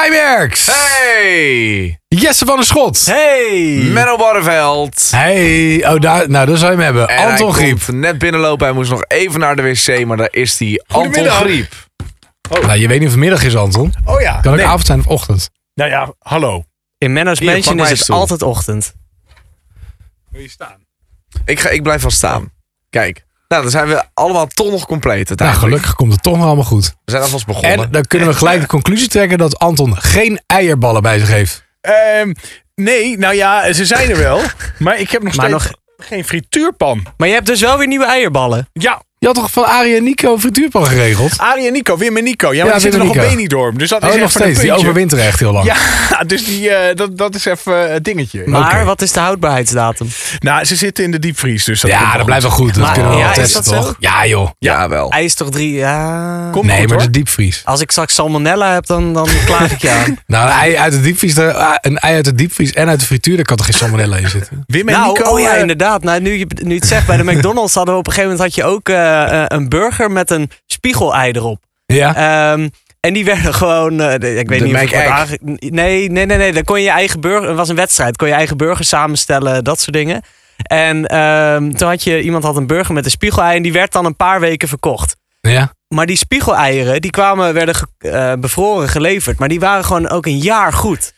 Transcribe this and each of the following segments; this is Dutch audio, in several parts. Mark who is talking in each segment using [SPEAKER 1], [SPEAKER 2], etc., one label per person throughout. [SPEAKER 1] Keimerks!
[SPEAKER 2] Hey!
[SPEAKER 1] Jesse van der Schot!
[SPEAKER 3] Hey!
[SPEAKER 2] Menno Barreveld.
[SPEAKER 1] Hey, oh, daar, nou, daar zou je hem hebben.
[SPEAKER 2] En
[SPEAKER 1] Anton
[SPEAKER 2] hij
[SPEAKER 1] Griep.
[SPEAKER 2] komt net binnenlopen. Hij moest nog even naar de wc, maar daar is hij. Anton
[SPEAKER 3] Goedemiddag.
[SPEAKER 2] Griep.
[SPEAKER 1] Nou, je weet niet of het middag is, Anton.
[SPEAKER 3] Oh ja.
[SPEAKER 1] Kan ook
[SPEAKER 3] nee.
[SPEAKER 1] avond zijn of ochtend?
[SPEAKER 3] Nou ja, hallo.
[SPEAKER 4] In Menno's
[SPEAKER 2] Hier, pak
[SPEAKER 4] Mansion
[SPEAKER 2] mijn
[SPEAKER 4] is het
[SPEAKER 2] stoel.
[SPEAKER 4] altijd ochtend.
[SPEAKER 3] Wil je staan?
[SPEAKER 2] Ik, ga, ik blijf wel staan. Kijk. Nou, dan zijn we allemaal toch nog compleet.
[SPEAKER 1] Nou,
[SPEAKER 2] uiteindelijk.
[SPEAKER 1] gelukkig komt het toch nog allemaal goed.
[SPEAKER 2] We zijn alvast begonnen.
[SPEAKER 1] En dan kunnen we gelijk de conclusie trekken dat Anton geen eierballen bij zich heeft.
[SPEAKER 3] Ehm, nee, nou ja, ze zijn er wel. maar ik heb nog
[SPEAKER 4] Maar
[SPEAKER 3] steeds geen frituurpan.
[SPEAKER 4] Maar je hebt dus wel weer nieuwe eierballen.
[SPEAKER 3] Ja,
[SPEAKER 1] Je had toch van Arie en Nico een frituurpan geregeld?
[SPEAKER 3] Arie en Nico, Wim en Nico. Ja, maar
[SPEAKER 1] Ja,
[SPEAKER 3] die zitten
[SPEAKER 1] Wim en
[SPEAKER 3] nog op
[SPEAKER 1] Nico.
[SPEAKER 3] Benidorm. Dus dat
[SPEAKER 1] Oh,
[SPEAKER 3] is
[SPEAKER 1] nog
[SPEAKER 3] even een
[SPEAKER 1] steeds. Die
[SPEAKER 3] puntje.
[SPEAKER 1] overwinteren echt heel lang.
[SPEAKER 3] Ja, dus die, eh, dat, dat is even het dingetje.
[SPEAKER 4] Maar
[SPEAKER 1] Oké.
[SPEAKER 4] wat is de houdbaarheidsdatum?
[SPEAKER 3] Nou, ze zitten in de diepvries, dus dat
[SPEAKER 1] Ja,
[SPEAKER 3] komt
[SPEAKER 1] dat
[SPEAKER 3] wel
[SPEAKER 1] blijft
[SPEAKER 3] goed.
[SPEAKER 1] wel goed. Dat
[SPEAKER 4] Maar-
[SPEAKER 1] kunnen we
[SPEAKER 4] ja,
[SPEAKER 1] wel
[SPEAKER 4] is
[SPEAKER 1] testen,
[SPEAKER 4] dat zo?
[SPEAKER 1] toch? Ja, joh.
[SPEAKER 2] Ja, wel.
[SPEAKER 4] Hij is toch drie? Ja.
[SPEAKER 3] Komt
[SPEAKER 1] Nee,
[SPEAKER 3] goed,
[SPEAKER 1] maar
[SPEAKER 3] hoor.
[SPEAKER 1] de diepvries.
[SPEAKER 4] Als ik straks salmonella heb, dan, dan klaag ik je aan.
[SPEAKER 1] Nou, een ei uit de diepvries, daar- een ei uit de diepvries en uit de frituur, daar kan toch geen salmonella in zitten?
[SPEAKER 3] Wim en
[SPEAKER 4] nou,
[SPEAKER 3] Nico.
[SPEAKER 4] oh ja,
[SPEAKER 3] eh,
[SPEAKER 4] inderdaad. Nou, nu, je, nu je het zegt, bij de McDonald's hadden we op een gegeven moment had je ook eh, eh, een burger met een spiegelei erop.
[SPEAKER 1] Ja.
[SPEAKER 4] Ehm, en die werden gewoon, eh, de- ik weet
[SPEAKER 2] De
[SPEAKER 4] niet of het wordt
[SPEAKER 2] Mac-Egg.
[SPEAKER 4] aange... Nee, nee, nee, nee. Dan kon je je eigen burger, het was een wedstrijd, kon je eigen burger samenstellen, dat soort dingen. En ehm, toen had je, iemand had een burger met een spiegelei en die werd dan een paar weken verkocht.
[SPEAKER 1] ja.
[SPEAKER 4] Maar die spiegeleieren, die kwamen, werden ge- eh, bevroren geleverd. Maar die waren gewoon ook een jaar goed.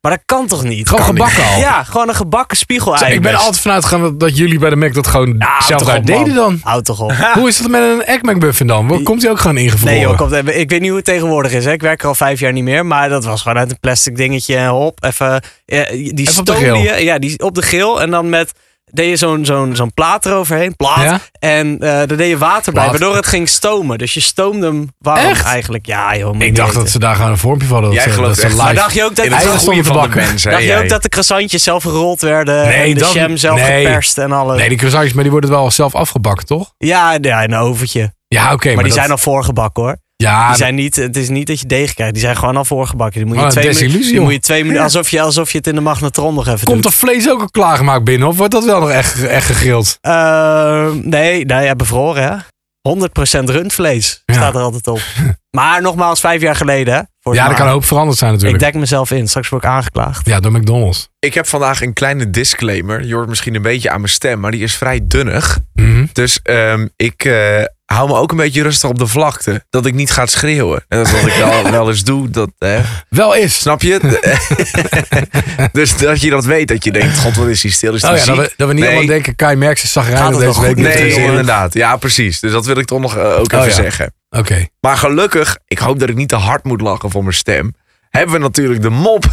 [SPEAKER 4] Maar dat kan toch niet?
[SPEAKER 1] Gewoon
[SPEAKER 4] Kan
[SPEAKER 1] gebakken
[SPEAKER 4] niet.
[SPEAKER 1] al?
[SPEAKER 4] Ja, gewoon een gebakken spiegelei.
[SPEAKER 1] Ah, ik ben er altijd vanuit gegaan dat, dat jullie bij de Mac dat gewoon
[SPEAKER 4] Ja, houd
[SPEAKER 1] zelf
[SPEAKER 4] toch
[SPEAKER 1] uit
[SPEAKER 4] op, man.
[SPEAKER 1] deden dan.
[SPEAKER 4] Houd toch op.
[SPEAKER 1] Hoe is dat met een Egg McMuffin dan? Wel, Komt hij ook gewoon ingevroren?
[SPEAKER 4] Nee joh, komt even- ik weet niet hoe het tegenwoordig is. Hè. Ik werk er al vijf jaar niet meer. Maar dat was gewoon uit een plastic dingetje. en Hop, even. eh, die
[SPEAKER 1] Even op de
[SPEAKER 4] stoomde
[SPEAKER 1] grill.
[SPEAKER 4] je. Ja, die op de grill. En dan met. Deed je zo'n zo'n zo'n plaat eroverheen. Plaat.
[SPEAKER 1] Ja?
[SPEAKER 4] En eh daar deed je water bij.
[SPEAKER 1] Plaat.
[SPEAKER 4] Waardoor het ging stomen. Dus je stoomde hem warm
[SPEAKER 1] Echt?
[SPEAKER 4] eigenlijk. Ja joh. moet je
[SPEAKER 1] Ik
[SPEAKER 4] niet
[SPEAKER 1] dacht
[SPEAKER 4] weten.
[SPEAKER 1] dat ze daar gewoon een vormpje van hadden.
[SPEAKER 2] Jij
[SPEAKER 1] Dat ze-
[SPEAKER 2] gelooft
[SPEAKER 1] dat ze
[SPEAKER 2] echt-
[SPEAKER 1] live-
[SPEAKER 4] Maar dacht je ook dat
[SPEAKER 2] In het
[SPEAKER 1] Eieren
[SPEAKER 2] goede
[SPEAKER 1] stonden
[SPEAKER 2] van de
[SPEAKER 1] bakken.
[SPEAKER 2] mensen.
[SPEAKER 4] Dacht je ook dat de croissantjes zelf gerold werden
[SPEAKER 1] Nee,
[SPEAKER 4] en de
[SPEAKER 1] dat-
[SPEAKER 4] jam zelf
[SPEAKER 1] nee.
[SPEAKER 4] geperst en alles?
[SPEAKER 1] Nee, die croissantjes, maar die worden wel zelf afgebakken, toch?
[SPEAKER 4] Ja, ja, in een overtje. Maar,
[SPEAKER 1] Ja, oké. maar
[SPEAKER 4] die
[SPEAKER 1] dat- Ah,
[SPEAKER 4] zijn al voorgebakken hoor.
[SPEAKER 1] Ja,
[SPEAKER 4] Die zijn niet, het is niet dat je deeg krijgt, die zijn gewoon al voorgebakken. Die moet je
[SPEAKER 1] Wat een
[SPEAKER 4] twee minuten,
[SPEAKER 1] Ah, desillusie,
[SPEAKER 4] die
[SPEAKER 1] joh.
[SPEAKER 4] moet je twee minuten, alsof je, alsof je het in de magnetron nog even
[SPEAKER 1] komt
[SPEAKER 4] doet.
[SPEAKER 1] er vlees ook al klaargemaakt binnen? Of wordt dat wel nog echt, echt gegrild?
[SPEAKER 4] Eh, nee, nou ja, bevroren hè. 100% rundvlees
[SPEAKER 1] Ja.
[SPEAKER 4] staat er altijd op. maar nogmaals, vijf jaar geleden hè. voor
[SPEAKER 1] Ja,
[SPEAKER 4] het
[SPEAKER 1] dat kan
[SPEAKER 4] maar.
[SPEAKER 1] een hoop veranderd zijn
[SPEAKER 4] Ik
[SPEAKER 1] natuurlijk.
[SPEAKER 4] dek mezelf in, straks word ik aangeklaagd.
[SPEAKER 1] Ja, door McDonald's.
[SPEAKER 2] Ik heb vandaag een kleine disclaimer. Je hoort misschien een beetje aan mijn stem, maar die is vrij dunnig.
[SPEAKER 1] Mhm.
[SPEAKER 2] Dus ehm, ik eh, hou me ook een beetje rustig op de vlakte. Dat ik niet ga schreeuwen. En dat is wat ik wel, wel eens doe. Dat, hè.
[SPEAKER 1] Wel is.
[SPEAKER 2] Snap je? De- dus dat je dat weet. Dat je denkt, god wat is hij stil. Is hij
[SPEAKER 1] Oh ja, dat
[SPEAKER 2] ziek?
[SPEAKER 1] we, dat we niet
[SPEAKER 2] Nee.
[SPEAKER 1] allemaal denken, Kai Merks is
[SPEAKER 4] Gaat
[SPEAKER 1] zagrijnig
[SPEAKER 4] het
[SPEAKER 1] deze
[SPEAKER 4] wel
[SPEAKER 1] week.
[SPEAKER 4] goed?
[SPEAKER 1] niet
[SPEAKER 2] Nee,
[SPEAKER 1] te
[SPEAKER 4] hoor.
[SPEAKER 1] zien.
[SPEAKER 2] inderdaad. Ja, precies. Dus dat wil ik toch nog eh, ook
[SPEAKER 1] Oh
[SPEAKER 2] even
[SPEAKER 1] ja.
[SPEAKER 2] zeggen.
[SPEAKER 1] Oké.
[SPEAKER 2] Maar gelukkig, ik hoop dat ik niet te hard moet lachen voor mijn stem. Hebben we natuurlijk de mop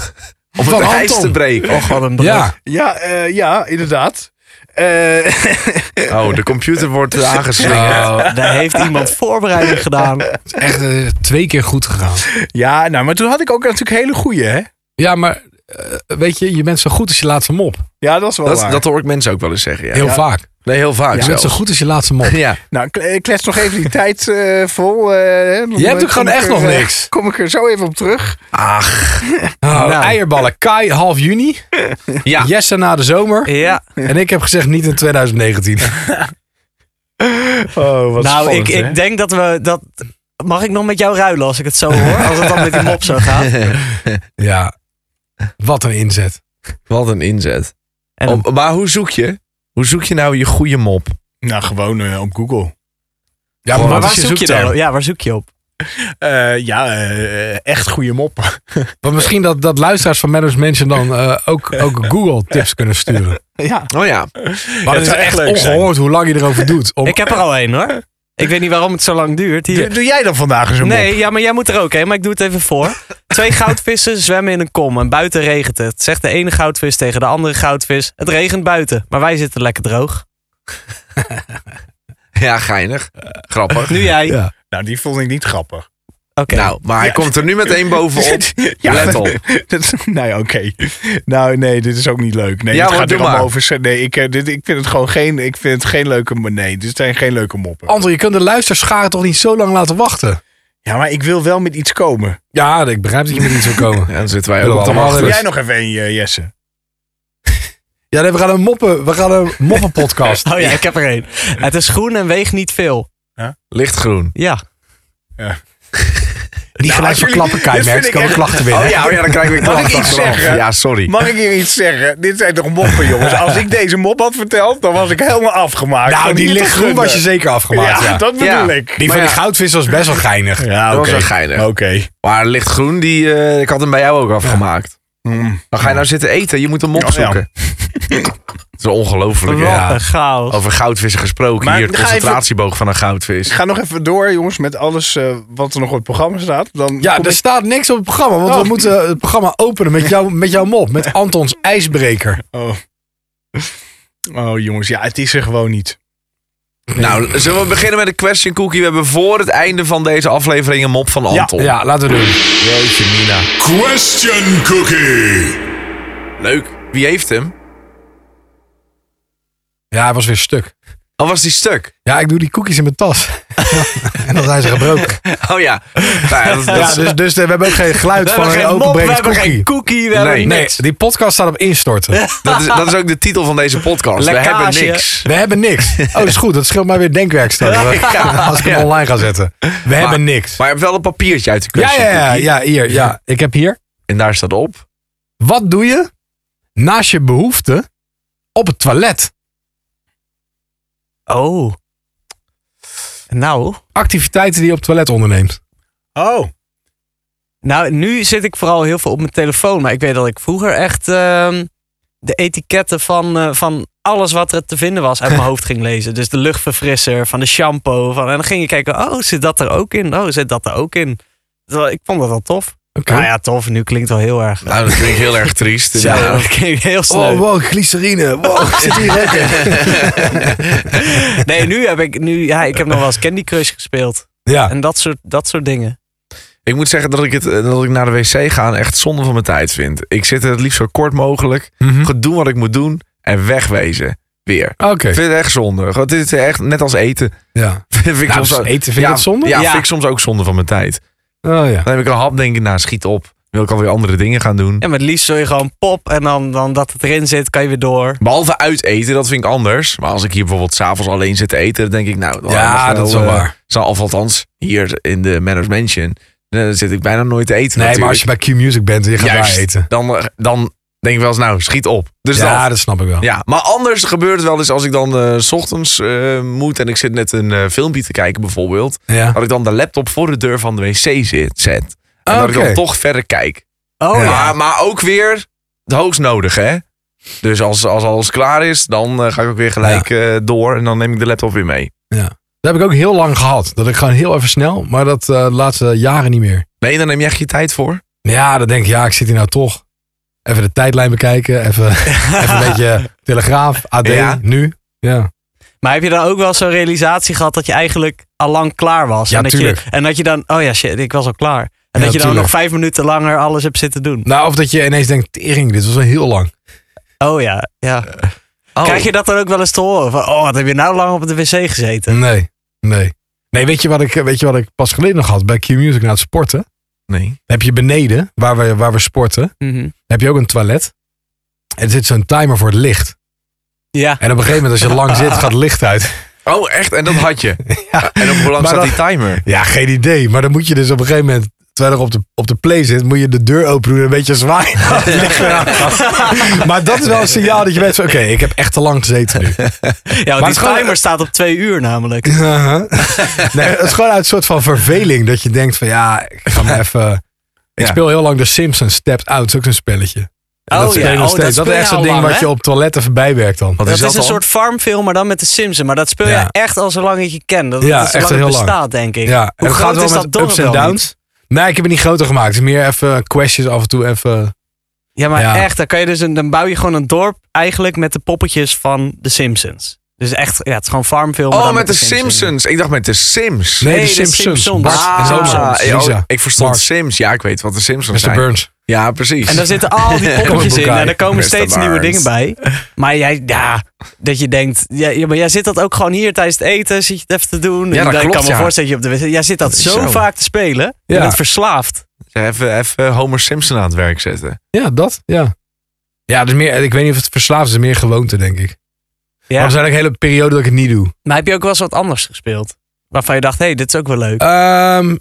[SPEAKER 2] om
[SPEAKER 1] Van
[SPEAKER 2] het ijs
[SPEAKER 1] Anton.
[SPEAKER 2] te breken.
[SPEAKER 4] Och, wat een brug.
[SPEAKER 1] Ja,
[SPEAKER 3] Ja, eh, ja, inderdaad. Eh,
[SPEAKER 2] Oh, de computer wordt eh, aangeslingerd.
[SPEAKER 4] Daar heeft iemand voorbereiding gedaan.
[SPEAKER 1] het is echt eh, twee keer goed gegaan.
[SPEAKER 3] ja, nou, maar toen had ik ook natuurlijk hele goeie, hè?
[SPEAKER 1] Ja, maar eh, weet je, je bent zo goed als je laatste mop.
[SPEAKER 3] Ja, dat is wel
[SPEAKER 2] Dat,
[SPEAKER 3] waar.
[SPEAKER 2] dat hoor ik mensen ook wel eens zeggen. Ja.
[SPEAKER 1] Heel vaak.
[SPEAKER 2] Nee, heel vaak
[SPEAKER 1] Je bent zo
[SPEAKER 2] zelfs.
[SPEAKER 1] goed als je laatste mop.
[SPEAKER 2] Ja.
[SPEAKER 3] Nou, kle- eh, klets nog even die tijd eh, vol. eh, hè, dan,
[SPEAKER 1] Je hebt
[SPEAKER 3] eh,
[SPEAKER 1] ook gewoon
[SPEAKER 3] kom ik
[SPEAKER 1] echt
[SPEAKER 3] er,
[SPEAKER 1] nog
[SPEAKER 3] eh,
[SPEAKER 1] niks.
[SPEAKER 3] Kom ik er zo even op terug.
[SPEAKER 2] Ach,
[SPEAKER 1] Oh,
[SPEAKER 4] Nou.
[SPEAKER 1] Eierballen, Kai half juni.
[SPEAKER 2] Ja.
[SPEAKER 1] Jesse na de zomer.
[SPEAKER 4] Ja,
[SPEAKER 1] En ik heb gezegd niet in 2019.
[SPEAKER 3] Oh, wat
[SPEAKER 4] nou, ik, ik denk dat we dat. Mag ik nog met jou ruilen als ik het zo hoor? Als het dan met die mop zo gaat.
[SPEAKER 1] Ja, wat een inzet.
[SPEAKER 2] wat een inzet.
[SPEAKER 4] En
[SPEAKER 2] Om- maar hoe zoek je? Hoe zoek je nou je goede mop?
[SPEAKER 3] Nou, gewoon eh, op Google.
[SPEAKER 1] Ja,
[SPEAKER 2] maar
[SPEAKER 4] maar
[SPEAKER 2] wat
[SPEAKER 4] waar zoek je
[SPEAKER 1] zoekterm?
[SPEAKER 4] dan? Ja, waar zoek je op?
[SPEAKER 3] Eh, ja, eh, echt goede mop.
[SPEAKER 1] Want misschien dat, dat luisteraars van Meadows Mansion dan eh, ook, ook Google tips kunnen sturen.
[SPEAKER 3] ja.
[SPEAKER 2] Oh ja,
[SPEAKER 1] Maar
[SPEAKER 3] dat
[SPEAKER 1] het is
[SPEAKER 3] zou echt
[SPEAKER 1] echt
[SPEAKER 3] leuk zijn.
[SPEAKER 1] ongehoord hoe lang je erover doet. Om,
[SPEAKER 4] Ik heb er al één hoor. Ik weet niet waarom het zo lang duurt.
[SPEAKER 3] Doe,
[SPEAKER 4] Hier.
[SPEAKER 3] doe jij dan vandaag eens een mop?
[SPEAKER 4] Nee, ja, maar jij moet er ook heen, maar ik doe het even voor. Twee goudvissen zwemmen in een kom en buiten regent het. Zegt de ene goudvis tegen de andere goudvis: Het regent buiten, maar wij zitten lekker droog.
[SPEAKER 2] ja geinig. Grappig.
[SPEAKER 4] Nu jij.
[SPEAKER 1] Ja.
[SPEAKER 3] Nou, die vond ik niet grappig.
[SPEAKER 4] Oké.
[SPEAKER 2] Nou, maar hij komt er nu meteen bovenop.
[SPEAKER 3] Ja,
[SPEAKER 2] Let op.
[SPEAKER 3] Dat, is- nou ja, oké. Nou, nee, dit is ook niet leuk. Nee,
[SPEAKER 2] Ja,
[SPEAKER 3] het
[SPEAKER 2] maar
[SPEAKER 3] gaat
[SPEAKER 2] doe
[SPEAKER 3] er allemaal
[SPEAKER 2] maar.
[SPEAKER 3] over. se- Nee, ik, eh, dit, ik vind het gewoon geen, ik vind het geen leuke. Nee, dit zijn geen leuke moppen.
[SPEAKER 1] Anton, je kunt de luisterscharen toch niet zo lang laten wachten?
[SPEAKER 3] Ja, maar ik wil wel met iets komen.
[SPEAKER 1] Ja, ik begrijp dat je met niet zou komen.
[SPEAKER 2] Ja, dan zitten wij
[SPEAKER 1] Doe
[SPEAKER 2] ook
[SPEAKER 1] het
[SPEAKER 2] allemaal
[SPEAKER 1] allemaal
[SPEAKER 2] achter.
[SPEAKER 3] Wil
[SPEAKER 1] Dus-
[SPEAKER 3] jij nog even een, eh, Jesse?
[SPEAKER 1] Ja, nee, we gaan een moppen, we gaan een moppenpodcast.
[SPEAKER 4] Oh ja, ik heb er één. Het is groen en weegt niet veel.
[SPEAKER 2] Lichtgroen.
[SPEAKER 4] Ja.
[SPEAKER 3] Ja.
[SPEAKER 1] Niet gelijk
[SPEAKER 3] als jullie-
[SPEAKER 1] verklappen, Kai
[SPEAKER 3] dit vind
[SPEAKER 1] Merks.
[SPEAKER 3] ik
[SPEAKER 1] Komen
[SPEAKER 3] echt-
[SPEAKER 1] klachten
[SPEAKER 2] Oh
[SPEAKER 1] binnen.
[SPEAKER 2] ja, oh ja, dan krijg ik weer
[SPEAKER 3] Mag ik
[SPEAKER 2] klachten.
[SPEAKER 3] iets
[SPEAKER 2] achteraf.
[SPEAKER 3] zeggen?
[SPEAKER 2] Ja, sorry.
[SPEAKER 3] Mag ik hier iets zeggen? Dit zijn toch moppen, jongens? Als ik deze mop had verteld, dan was ik helemaal afgemaakt.
[SPEAKER 1] Nou,
[SPEAKER 3] Van
[SPEAKER 1] die
[SPEAKER 3] hier tot
[SPEAKER 1] lichtgroen
[SPEAKER 3] gunnen.
[SPEAKER 1] was je zeker afgemaakt.
[SPEAKER 3] Ja,
[SPEAKER 1] Ja.
[SPEAKER 3] dat bedoel
[SPEAKER 2] Ja.
[SPEAKER 3] ik.
[SPEAKER 1] Die
[SPEAKER 2] Maar
[SPEAKER 1] van die
[SPEAKER 2] ja.
[SPEAKER 1] goudvis was best wel geinig.
[SPEAKER 3] Ja,
[SPEAKER 2] Dat was
[SPEAKER 3] oké.
[SPEAKER 2] wel geinig.
[SPEAKER 3] Oké.
[SPEAKER 2] Maar lichtgroen, die, eh, ik had hem bij jou ook afgemaakt.
[SPEAKER 3] Mm.
[SPEAKER 2] Dan ga je nou zitten eten. Je moet een mop
[SPEAKER 3] Ja, ja.
[SPEAKER 2] zoeken. Het is ongelooflijk.
[SPEAKER 4] Wat
[SPEAKER 2] Ja.
[SPEAKER 4] een chaos.
[SPEAKER 2] Over goudvissen gesproken.
[SPEAKER 3] Maar
[SPEAKER 2] Hier, het
[SPEAKER 3] ga even-
[SPEAKER 2] concentratieboog van een
[SPEAKER 3] Ik
[SPEAKER 2] goudvis.
[SPEAKER 3] ga nog even door, jongens, met alles eh, wat er nog op het programma staat. Dan
[SPEAKER 1] Ja,
[SPEAKER 3] kom
[SPEAKER 2] dus-
[SPEAKER 1] er
[SPEAKER 3] ik-
[SPEAKER 1] staat niks op het programma. Want we
[SPEAKER 3] Oh.
[SPEAKER 1] moeten het programma openen met, jou, met jouw mop. Met Antons ijsbreker.
[SPEAKER 3] oh. oh, jongens, ja, het is er gewoon niet.
[SPEAKER 2] Nou, zullen we beginnen met een question cookie? We hebben voor het einde van deze aflevering een mop van Anton.
[SPEAKER 1] Ja, laten we doen.
[SPEAKER 2] Jeetje, Mina.
[SPEAKER 5] Question Cookie.
[SPEAKER 2] Leuk. Wie heeft hem?
[SPEAKER 1] Ja, hij was weer stuk.
[SPEAKER 2] Al Oh, was die stuk.
[SPEAKER 1] Ja, ik doe die koekjes in mijn tas. en dan zijn ze gebroken.
[SPEAKER 2] Oh ja. Nou, ja, dat, dat
[SPEAKER 1] Ja,
[SPEAKER 2] is-
[SPEAKER 1] dus, dus eh, we hebben ook geen geluid
[SPEAKER 4] We
[SPEAKER 1] van
[SPEAKER 4] hebben
[SPEAKER 1] een
[SPEAKER 4] geen mop, we
[SPEAKER 1] openbrekend
[SPEAKER 4] hebben
[SPEAKER 1] koekie.
[SPEAKER 4] geen cookie, we
[SPEAKER 2] Nee.
[SPEAKER 4] hebben
[SPEAKER 1] Nee,
[SPEAKER 4] niks.
[SPEAKER 1] die podcast staat op instorten.
[SPEAKER 2] dat, is, dat is ook de titel van deze podcast. We
[SPEAKER 4] Lekkage.
[SPEAKER 2] hebben niks.
[SPEAKER 1] We hebben niks. Oh, dat is goed. Dat scheelt mij weer denkwerkstelling. Als ik hem
[SPEAKER 2] Ja.
[SPEAKER 1] online ga zetten. We hebben niks.
[SPEAKER 2] Maar je hebt wel een papiertje uit de
[SPEAKER 1] Ja,
[SPEAKER 2] question
[SPEAKER 1] ja, ja,
[SPEAKER 2] cookie.
[SPEAKER 1] ja, hier. Ja. Ik heb hier.
[SPEAKER 2] En daar staat op.
[SPEAKER 1] Wat doe je naast je behoefte op het toilet?
[SPEAKER 4] Oh. Nou,
[SPEAKER 1] Activiteiten die je op het toilet onderneemt.
[SPEAKER 3] Oh,
[SPEAKER 4] nou, nu zit ik vooral heel veel op mijn telefoon. Maar ik weet dat ik vroeger echt ehm, de etiketten van, eh, van alles wat er te vinden was uit mijn hoofd ging lezen. Dus de luchtverfrisser, van de shampoo. Van, en dan ging je kijken, oh, zit dat er ook in? Oh, zit dat er ook in? Terwijl Ik vond dat wel tof.
[SPEAKER 1] Oké.
[SPEAKER 4] Nou ja, tof. Nu klinkt wel heel erg.
[SPEAKER 2] Nou, dat klinkt heel erg triest.
[SPEAKER 4] Zo,
[SPEAKER 2] Ja.
[SPEAKER 4] dat klinkt heel snel.
[SPEAKER 1] Oh, wow, glycerine. Wow, ik zit hier lekker.
[SPEAKER 4] Nee, nu heb ik, nu, ja, ik heb nog wel eens Candy Crush gespeeld.
[SPEAKER 1] Ja,
[SPEAKER 4] En dat soort, dat soort dingen.
[SPEAKER 2] Ik moet zeggen dat ik, het, eh, dat ik naar de wc gaan echt zonde van mijn tijd vind. Ik zit er het liefst zo kort mogelijk.
[SPEAKER 1] Mhm.
[SPEAKER 2] Goed doen wat ik moet doen. En wegwezen. Weer.
[SPEAKER 1] oké.
[SPEAKER 2] Ik vind het echt zonde. Gewoon, Dit is echt net als eten.
[SPEAKER 1] Ja.
[SPEAKER 2] vind ik
[SPEAKER 1] Nou,
[SPEAKER 2] soms ook-
[SPEAKER 1] eten vind je
[SPEAKER 2] ja,
[SPEAKER 1] dat zonde?
[SPEAKER 2] Ja,
[SPEAKER 4] Ja.
[SPEAKER 2] vind ik soms ook zonde van mijn tijd.
[SPEAKER 1] Oh ja.
[SPEAKER 2] Dan heb ik een hap, denk ik, nou schiet op. Dan wil ik alweer andere dingen gaan doen.
[SPEAKER 4] Ja, maar het liefst zul je gewoon pop en dan, dan dat het erin zit, kan je weer door.
[SPEAKER 2] Behalve uit eten, dat vind ik anders. Maar als ik hier bijvoorbeeld s'avonds alleen zit te eten, dan denk ik, nou, dan
[SPEAKER 1] Ja,
[SPEAKER 2] mag
[SPEAKER 1] dat is wel
[SPEAKER 2] eh,
[SPEAKER 1] waar.
[SPEAKER 2] zal- of althans, hier in de Manners Mansion, eh, dan zit ik bijna nooit te
[SPEAKER 1] Nee,
[SPEAKER 2] eten.
[SPEAKER 1] maar
[SPEAKER 2] natuurlijk.
[SPEAKER 1] als je bij Q-Music bent en je gaat
[SPEAKER 2] Juist,
[SPEAKER 1] daar eten.
[SPEAKER 2] Dan, eh, dan denk ik wel eens, nou, schiet op. Dus
[SPEAKER 1] ja,
[SPEAKER 2] dat.
[SPEAKER 1] dat snap ik wel.
[SPEAKER 2] Ja, maar anders gebeurt het wel eens als ik dan eh, s ochtends eh, moet en ik zit net een eh, filmpje te kijken bijvoorbeeld.
[SPEAKER 1] Ja.
[SPEAKER 2] Dat ik dan de laptop voor de deur van de wc zit, zet. En dat ik
[SPEAKER 1] Oké.
[SPEAKER 2] dan toch verder kijk.
[SPEAKER 4] Oh ja.
[SPEAKER 2] Maar, maar ook weer het hoogst nodig, hè? Dus als, als alles klaar is, dan eh, ga ik ook weer gelijk eh, door en dan neem ik de laptop weer mee.
[SPEAKER 1] Dat heb ik ook heel lang gehad. Dat ik gewoon heel even snel, maar dat eh, de laatste jaren niet meer.
[SPEAKER 2] Nee, dan neem je echt je tijd voor.
[SPEAKER 1] Ja, dan denk ik, ja, ik zit hier nou toch. Even de tijdlijn bekijken, even, even een beetje Telegraaf, AD,
[SPEAKER 2] Ja.
[SPEAKER 1] nu. Ja.
[SPEAKER 4] Maar heb je dan ook wel zo'n realisatie gehad dat je eigenlijk al lang klaar was?
[SPEAKER 1] Ja,
[SPEAKER 4] en, dat je,
[SPEAKER 1] tuurlijk.
[SPEAKER 4] en dat je dan, oh ja, shit, ik was al klaar. En
[SPEAKER 1] Ja,
[SPEAKER 4] dat je dan
[SPEAKER 1] tuurlijk.
[SPEAKER 4] nog vijf minuten langer alles hebt zitten doen.
[SPEAKER 1] Nou, of dat je ineens denkt, tering, dit was wel heel lang.
[SPEAKER 4] Oh ja, ja.
[SPEAKER 1] Eh,
[SPEAKER 2] Oh.
[SPEAKER 4] Krijg je dat dan ook wel eens te horen? Van, oh, wat heb je nou lang op de wc gezeten?
[SPEAKER 1] Nee, nee. Nee, weet je wat ik, weet je wat ik pas geleden nog had? Bij Q-Music na het sporten.
[SPEAKER 2] Nee.
[SPEAKER 1] heb je beneden, waar we, waar we sporten,
[SPEAKER 4] Mhm.
[SPEAKER 1] heb je ook een toilet. En er zit zo'n timer voor het licht.
[SPEAKER 4] Ja.
[SPEAKER 1] En op een gegeven moment, als je lang zit, gaat het licht uit.
[SPEAKER 2] Oh, echt? En dat had je? En op hoe lang
[SPEAKER 1] Maar
[SPEAKER 2] staat
[SPEAKER 1] dan-
[SPEAKER 2] die timer?
[SPEAKER 1] Ja, geen idee. Maar dan moet je dus op een gegeven moment, terwijl er op de, op de play zit, moet je de deur open doen en een beetje zwaaien. maar dat is wel een signaal dat je weet van, oké, ik heb echt te lang gezeten nu.
[SPEAKER 4] ja, want
[SPEAKER 1] het is
[SPEAKER 4] die
[SPEAKER 1] gewoon-
[SPEAKER 4] timer staat op twee uur namelijk.
[SPEAKER 1] Uh-huh. nee, het is gewoon uit een soort van verveling dat je denkt van, ja, ik ga maar even... Ik
[SPEAKER 2] Ja.
[SPEAKER 1] speel heel lang de Simpsons Stepped Out, dat is ook zo'n spelletje. En
[SPEAKER 4] Oh
[SPEAKER 1] dat speel je
[SPEAKER 4] ja,
[SPEAKER 1] nog
[SPEAKER 4] oh,
[SPEAKER 1] steeds. Dat,
[SPEAKER 4] dat speel
[SPEAKER 1] is
[SPEAKER 4] je
[SPEAKER 1] echt zo'n
[SPEAKER 4] al
[SPEAKER 1] ding
[SPEAKER 4] lang,
[SPEAKER 1] wat
[SPEAKER 4] hè?
[SPEAKER 1] je op toilet even bijwerkt dan.
[SPEAKER 2] Wat
[SPEAKER 4] Dat is, een
[SPEAKER 2] dan?
[SPEAKER 4] soort farmfilm, maar dan met de Simpsons. Maar dat speel je
[SPEAKER 1] Ja.
[SPEAKER 4] echt al zo lang dat je kent. Dat,
[SPEAKER 1] Ja,
[SPEAKER 4] dat is
[SPEAKER 1] echt
[SPEAKER 4] lang
[SPEAKER 1] heel
[SPEAKER 4] het
[SPEAKER 1] lang.
[SPEAKER 4] bestaat, denk ik.
[SPEAKER 1] Ja,
[SPEAKER 4] Hoe
[SPEAKER 1] het
[SPEAKER 4] groot
[SPEAKER 1] gaat wel
[SPEAKER 4] is dat
[SPEAKER 1] met
[SPEAKER 4] dorp
[SPEAKER 1] ups en
[SPEAKER 4] wel niet?
[SPEAKER 1] downs. Nee, ik heb het niet groter gemaakt. Het is meer even questjes af en toe. Even,
[SPEAKER 4] Ja, maar
[SPEAKER 1] Ja.
[SPEAKER 4] echt, dan, kan je dus een, dan bouw je gewoon een dorp eigenlijk met de poppetjes van de Simpsons. Dus echt, ja, het is gewoon farmfilm. maar
[SPEAKER 2] Oh,
[SPEAKER 4] dan
[SPEAKER 2] met de Simpsons. Ik dacht met de Sims.
[SPEAKER 1] nee,
[SPEAKER 4] Nee,
[SPEAKER 1] de
[SPEAKER 4] de
[SPEAKER 1] Simpsons.
[SPEAKER 4] Simpsons.
[SPEAKER 1] Bart
[SPEAKER 4] Ah,
[SPEAKER 1] en
[SPEAKER 4] de
[SPEAKER 1] Homer,
[SPEAKER 2] Ah,
[SPEAKER 4] Simpsons.
[SPEAKER 2] joh,
[SPEAKER 1] Lisa,
[SPEAKER 2] ik verstond
[SPEAKER 1] Bart.
[SPEAKER 2] Sims. Ja, ik weet wat de Simpsons
[SPEAKER 1] Mr.
[SPEAKER 2] zijn.
[SPEAKER 1] Burns.
[SPEAKER 2] Ja, precies.
[SPEAKER 4] En daar zitten al die poppetjes in en er komen
[SPEAKER 2] Mr.
[SPEAKER 4] steeds nieuwe dingen
[SPEAKER 2] Barnes.
[SPEAKER 4] bij. Maar jij, ja, dat je denkt, ja, ja, maar jij zit dat ook gewoon hier tijdens het eten, zit je het even te doen.
[SPEAKER 2] Ja, dat
[SPEAKER 4] En dan- ik
[SPEAKER 2] klopt,
[SPEAKER 4] kan me
[SPEAKER 2] ja.
[SPEAKER 4] voorstellen dat je op de wc, jij zit dat
[SPEAKER 2] Dat is
[SPEAKER 4] zo,
[SPEAKER 2] zo.
[SPEAKER 4] vaak te spelen, je
[SPEAKER 1] Ja.
[SPEAKER 4] bent verslaafd.
[SPEAKER 2] Even, even eh, Homer Simpson aan het werk zetten.
[SPEAKER 1] Ja, dat. Ja, ja dus meer, ik weet niet of het verslaafd is. Meer gewoonte, denk ik. Maar
[SPEAKER 4] Ja.
[SPEAKER 1] er zijn ook hele perioden dat ik het niet doe.
[SPEAKER 4] Maar heb je ook wel eens wat anders gespeeld? Waarvan je dacht, hé, hey, dit is ook wel leuk.
[SPEAKER 1] Ehm,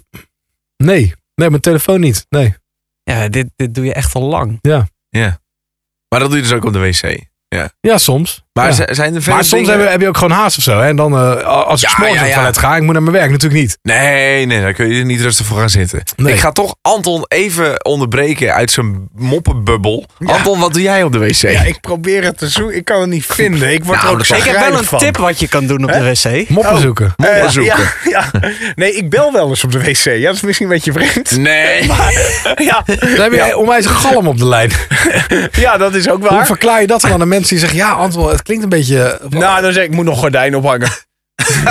[SPEAKER 1] nee. Nee, mijn telefoon niet. Nee.
[SPEAKER 4] Ja, dit, dit doe je echt al lang.
[SPEAKER 2] Maar dat doe je dus ook op de wc.
[SPEAKER 1] Ja, soms.
[SPEAKER 2] Maar
[SPEAKER 1] Ja.
[SPEAKER 2] z- zijn er verder
[SPEAKER 1] maar soms
[SPEAKER 2] dingen-
[SPEAKER 1] heb je, heb je ook gewoon haast of zo. Hè? En dan, eh, als ik
[SPEAKER 2] Ja,
[SPEAKER 1] s'morgens
[SPEAKER 2] ja,
[SPEAKER 1] op het
[SPEAKER 2] ja.
[SPEAKER 1] toilet ga, ik moet naar mijn werk natuurlijk niet.
[SPEAKER 2] Nee, nee, daar kun je niet rustig voor gaan zitten.
[SPEAKER 1] Nee.
[SPEAKER 2] Ik ga toch Anton even onderbreken uit zijn moppenbubbel. Anton, wat doe jij op de wc?
[SPEAKER 3] Ja, ik probeer het te zoeken. Ik kan het niet vinden. Ik word
[SPEAKER 2] Nou,
[SPEAKER 3] er ook
[SPEAKER 2] dat is-
[SPEAKER 4] Ik heb wel een
[SPEAKER 3] chagrijnig van.
[SPEAKER 4] tip wat je kan doen op de wc.
[SPEAKER 1] Moppen
[SPEAKER 3] Oh.
[SPEAKER 1] zoeken.
[SPEAKER 3] Eh,
[SPEAKER 2] Moppen zoeken.
[SPEAKER 3] Ja, ja. Nee, ik bel wel eens op de wc. Ja, dat is misschien een beetje vreemd.
[SPEAKER 2] Nee.
[SPEAKER 3] Ja,
[SPEAKER 1] Dan heb je onwijs een galm op de lijn.
[SPEAKER 3] ja dat is ook
[SPEAKER 1] Hoe
[SPEAKER 3] waar.
[SPEAKER 1] verklaar je dat dan aan de mensen die zeggen... Ja, Anton, het klinkt een beetje...
[SPEAKER 3] Nou, dan zeg ik, ik moet nog gordijn ophangen.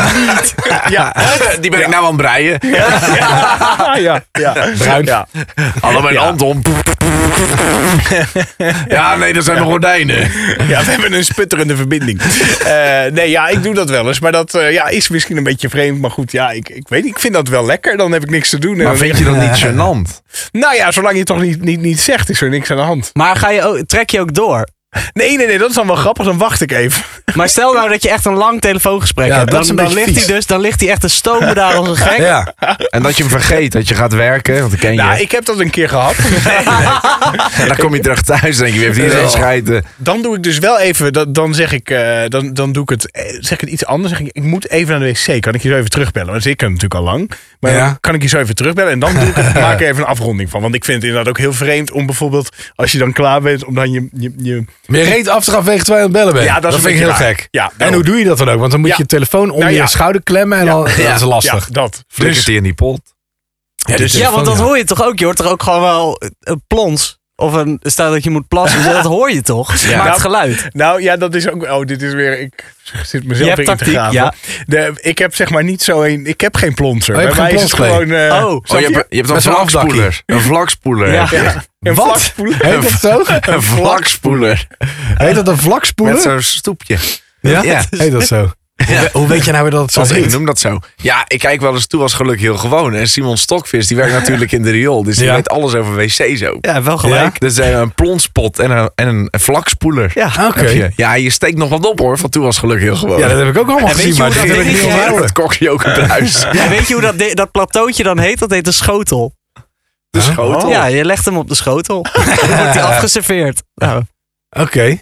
[SPEAKER 3] ja.
[SPEAKER 2] Die ben ik nou aan het breien.
[SPEAKER 3] Ja, ja, ja, ja.
[SPEAKER 1] Bruin.
[SPEAKER 3] Ja.
[SPEAKER 2] Hallo, mijn
[SPEAKER 3] Ja.
[SPEAKER 2] Anton. ja, nee, dat zijn mijn gordijnen.
[SPEAKER 3] Ja, we hebben een sputterende verbinding. Eh, nee, ja, ik doe dat wel eens. Maar dat eh, ja, is misschien een beetje vreemd. Maar goed, ja, ik, ik weet niet. Ik vind dat wel lekker. Dan heb ik niks te doen. En
[SPEAKER 2] Maar
[SPEAKER 3] dan-
[SPEAKER 2] vind je dat niet gênant?
[SPEAKER 3] Nou ja, zolang je het toch niet, niet, niet zegt, is er niks aan de hand.
[SPEAKER 4] Maar ga je ook, trek je ook door?
[SPEAKER 3] Nee, nee, nee, dat is dan wel grappig. Dan wacht ik even.
[SPEAKER 4] Maar stel nou dat je echt een lang telefoongesprek
[SPEAKER 1] Ja,
[SPEAKER 4] hebt.
[SPEAKER 1] dat
[SPEAKER 4] Dan,
[SPEAKER 1] is een
[SPEAKER 4] dan
[SPEAKER 1] beetje
[SPEAKER 4] ligt hij
[SPEAKER 1] vies.
[SPEAKER 4] dus, dan ligt hij echt te stomen daar als een gek.
[SPEAKER 1] Ja.
[SPEAKER 2] En dat je hem vergeet, dat je gaat werken, want ik ken je.
[SPEAKER 3] Nou, ik heb dat een keer gehad.
[SPEAKER 2] En dan kom je terug thuis en denk je, wie heeft hier
[SPEAKER 3] Ja.
[SPEAKER 2] zijn scheiden?
[SPEAKER 3] Dan doe ik dus wel even, dan, dan zeg ik, eh, dan, dan doe ik het, eh, zeg ik het iets anders. Zeg ik, ik moet even naar de wc. Kan ik je zo even terugbellen? Want ik kan natuurlijk al lang. Maar
[SPEAKER 1] Ja.
[SPEAKER 3] dan kan ik je zo even terugbellen? En dan doe ik het, maak ik er even een afronding van. Want ik vind het inderdaad ook heel vreemd om bijvoorbeeld, als je dan klaar bent, om dan je... je, je
[SPEAKER 1] Maar je reed af te gaan wegen terwijl je aan het bellen bent.
[SPEAKER 3] Ja, dat is
[SPEAKER 1] dat
[SPEAKER 3] een
[SPEAKER 1] vind ik heel
[SPEAKER 3] beetje raar.
[SPEAKER 1] gek.
[SPEAKER 3] Ja,
[SPEAKER 1] en
[SPEAKER 3] daarom.
[SPEAKER 1] hoe doe je dat dan ook? Want dan moet
[SPEAKER 3] Ja.
[SPEAKER 1] je je telefoon onder
[SPEAKER 3] Nou ja.
[SPEAKER 1] je schouder klemmen. En dan, dat is lastig. Dus-
[SPEAKER 3] Ja, dat.
[SPEAKER 2] Flikkert hij in die pot.
[SPEAKER 1] Ja,
[SPEAKER 3] dus-
[SPEAKER 4] Ja, want dat
[SPEAKER 1] telefoon,
[SPEAKER 4] hoor je toch ook? Je hoort er ook gewoon wel een plons. Of een, staat dat je moet plassen. dus dat hoor je toch?
[SPEAKER 2] Ja.
[SPEAKER 4] Maar het geluid.
[SPEAKER 3] Nou ja, dat is ook. Oh, dit is weer. Ik zit mezelf
[SPEAKER 4] Je hebt
[SPEAKER 3] weer in te
[SPEAKER 4] tactiek,
[SPEAKER 3] graven.
[SPEAKER 4] ja.
[SPEAKER 3] De, ik heb zeg maar niet zo een. Ik heb geen plonser.
[SPEAKER 1] Oh, je hebt
[SPEAKER 3] Bij
[SPEAKER 1] geen
[SPEAKER 3] mij is het gewoon.
[SPEAKER 1] plonsplay.
[SPEAKER 3] eh,
[SPEAKER 4] Oh.
[SPEAKER 2] Oh, je hebt, je hebt een
[SPEAKER 1] Met zo'n
[SPEAKER 2] vlakspoeler. Een vlakspoeler.
[SPEAKER 4] Ja.
[SPEAKER 2] heb je.
[SPEAKER 3] een
[SPEAKER 1] Wat?
[SPEAKER 3] vlakspoeler.
[SPEAKER 1] Heet dat zo?
[SPEAKER 2] Een vlakspoeler.
[SPEAKER 1] Heet dat een vlakspoeler?
[SPEAKER 2] Met zo'n stoepje.
[SPEAKER 1] ja?
[SPEAKER 2] Ja.
[SPEAKER 1] heet dat zo? Hoe, hoe weet je nou weer dat het zo
[SPEAKER 2] Zoals ik
[SPEAKER 1] heet?
[SPEAKER 2] noem dat zo. Ja, ik kijk wel eens toe als geluk heel gewoon. En Simon Stokvis, die werkt natuurlijk in de riool. Dus die
[SPEAKER 1] Ja.
[SPEAKER 2] weet alles over wc's ook.
[SPEAKER 4] Ja, wel
[SPEAKER 1] gelijk.
[SPEAKER 4] gelijk.
[SPEAKER 2] Dus eh, een plonspot en een, en een vlakspoeler.
[SPEAKER 4] Ja.
[SPEAKER 1] Ah, Oké.
[SPEAKER 2] Heb je. Ja, je steekt nog wat op hoor. Van toe was geluk heel gewoon.
[SPEAKER 1] Ja, dat heb ik ook allemaal
[SPEAKER 4] En weet
[SPEAKER 1] gezien,
[SPEAKER 4] je
[SPEAKER 1] maar
[SPEAKER 4] hoe
[SPEAKER 1] dat
[SPEAKER 4] dat
[SPEAKER 1] heb ik
[SPEAKER 4] ding
[SPEAKER 1] niet
[SPEAKER 4] is?
[SPEAKER 1] onthouden.
[SPEAKER 2] dat kokje ook op huis.
[SPEAKER 4] En weet je hoe dat, de- dat plateautje dan heet? Dat heet een schotel.
[SPEAKER 2] De
[SPEAKER 1] Oh.
[SPEAKER 2] schotel.
[SPEAKER 4] Ja, je legt hem op de schotel. Dan wordt hij afgeserveerd. Nou,
[SPEAKER 1] Oké.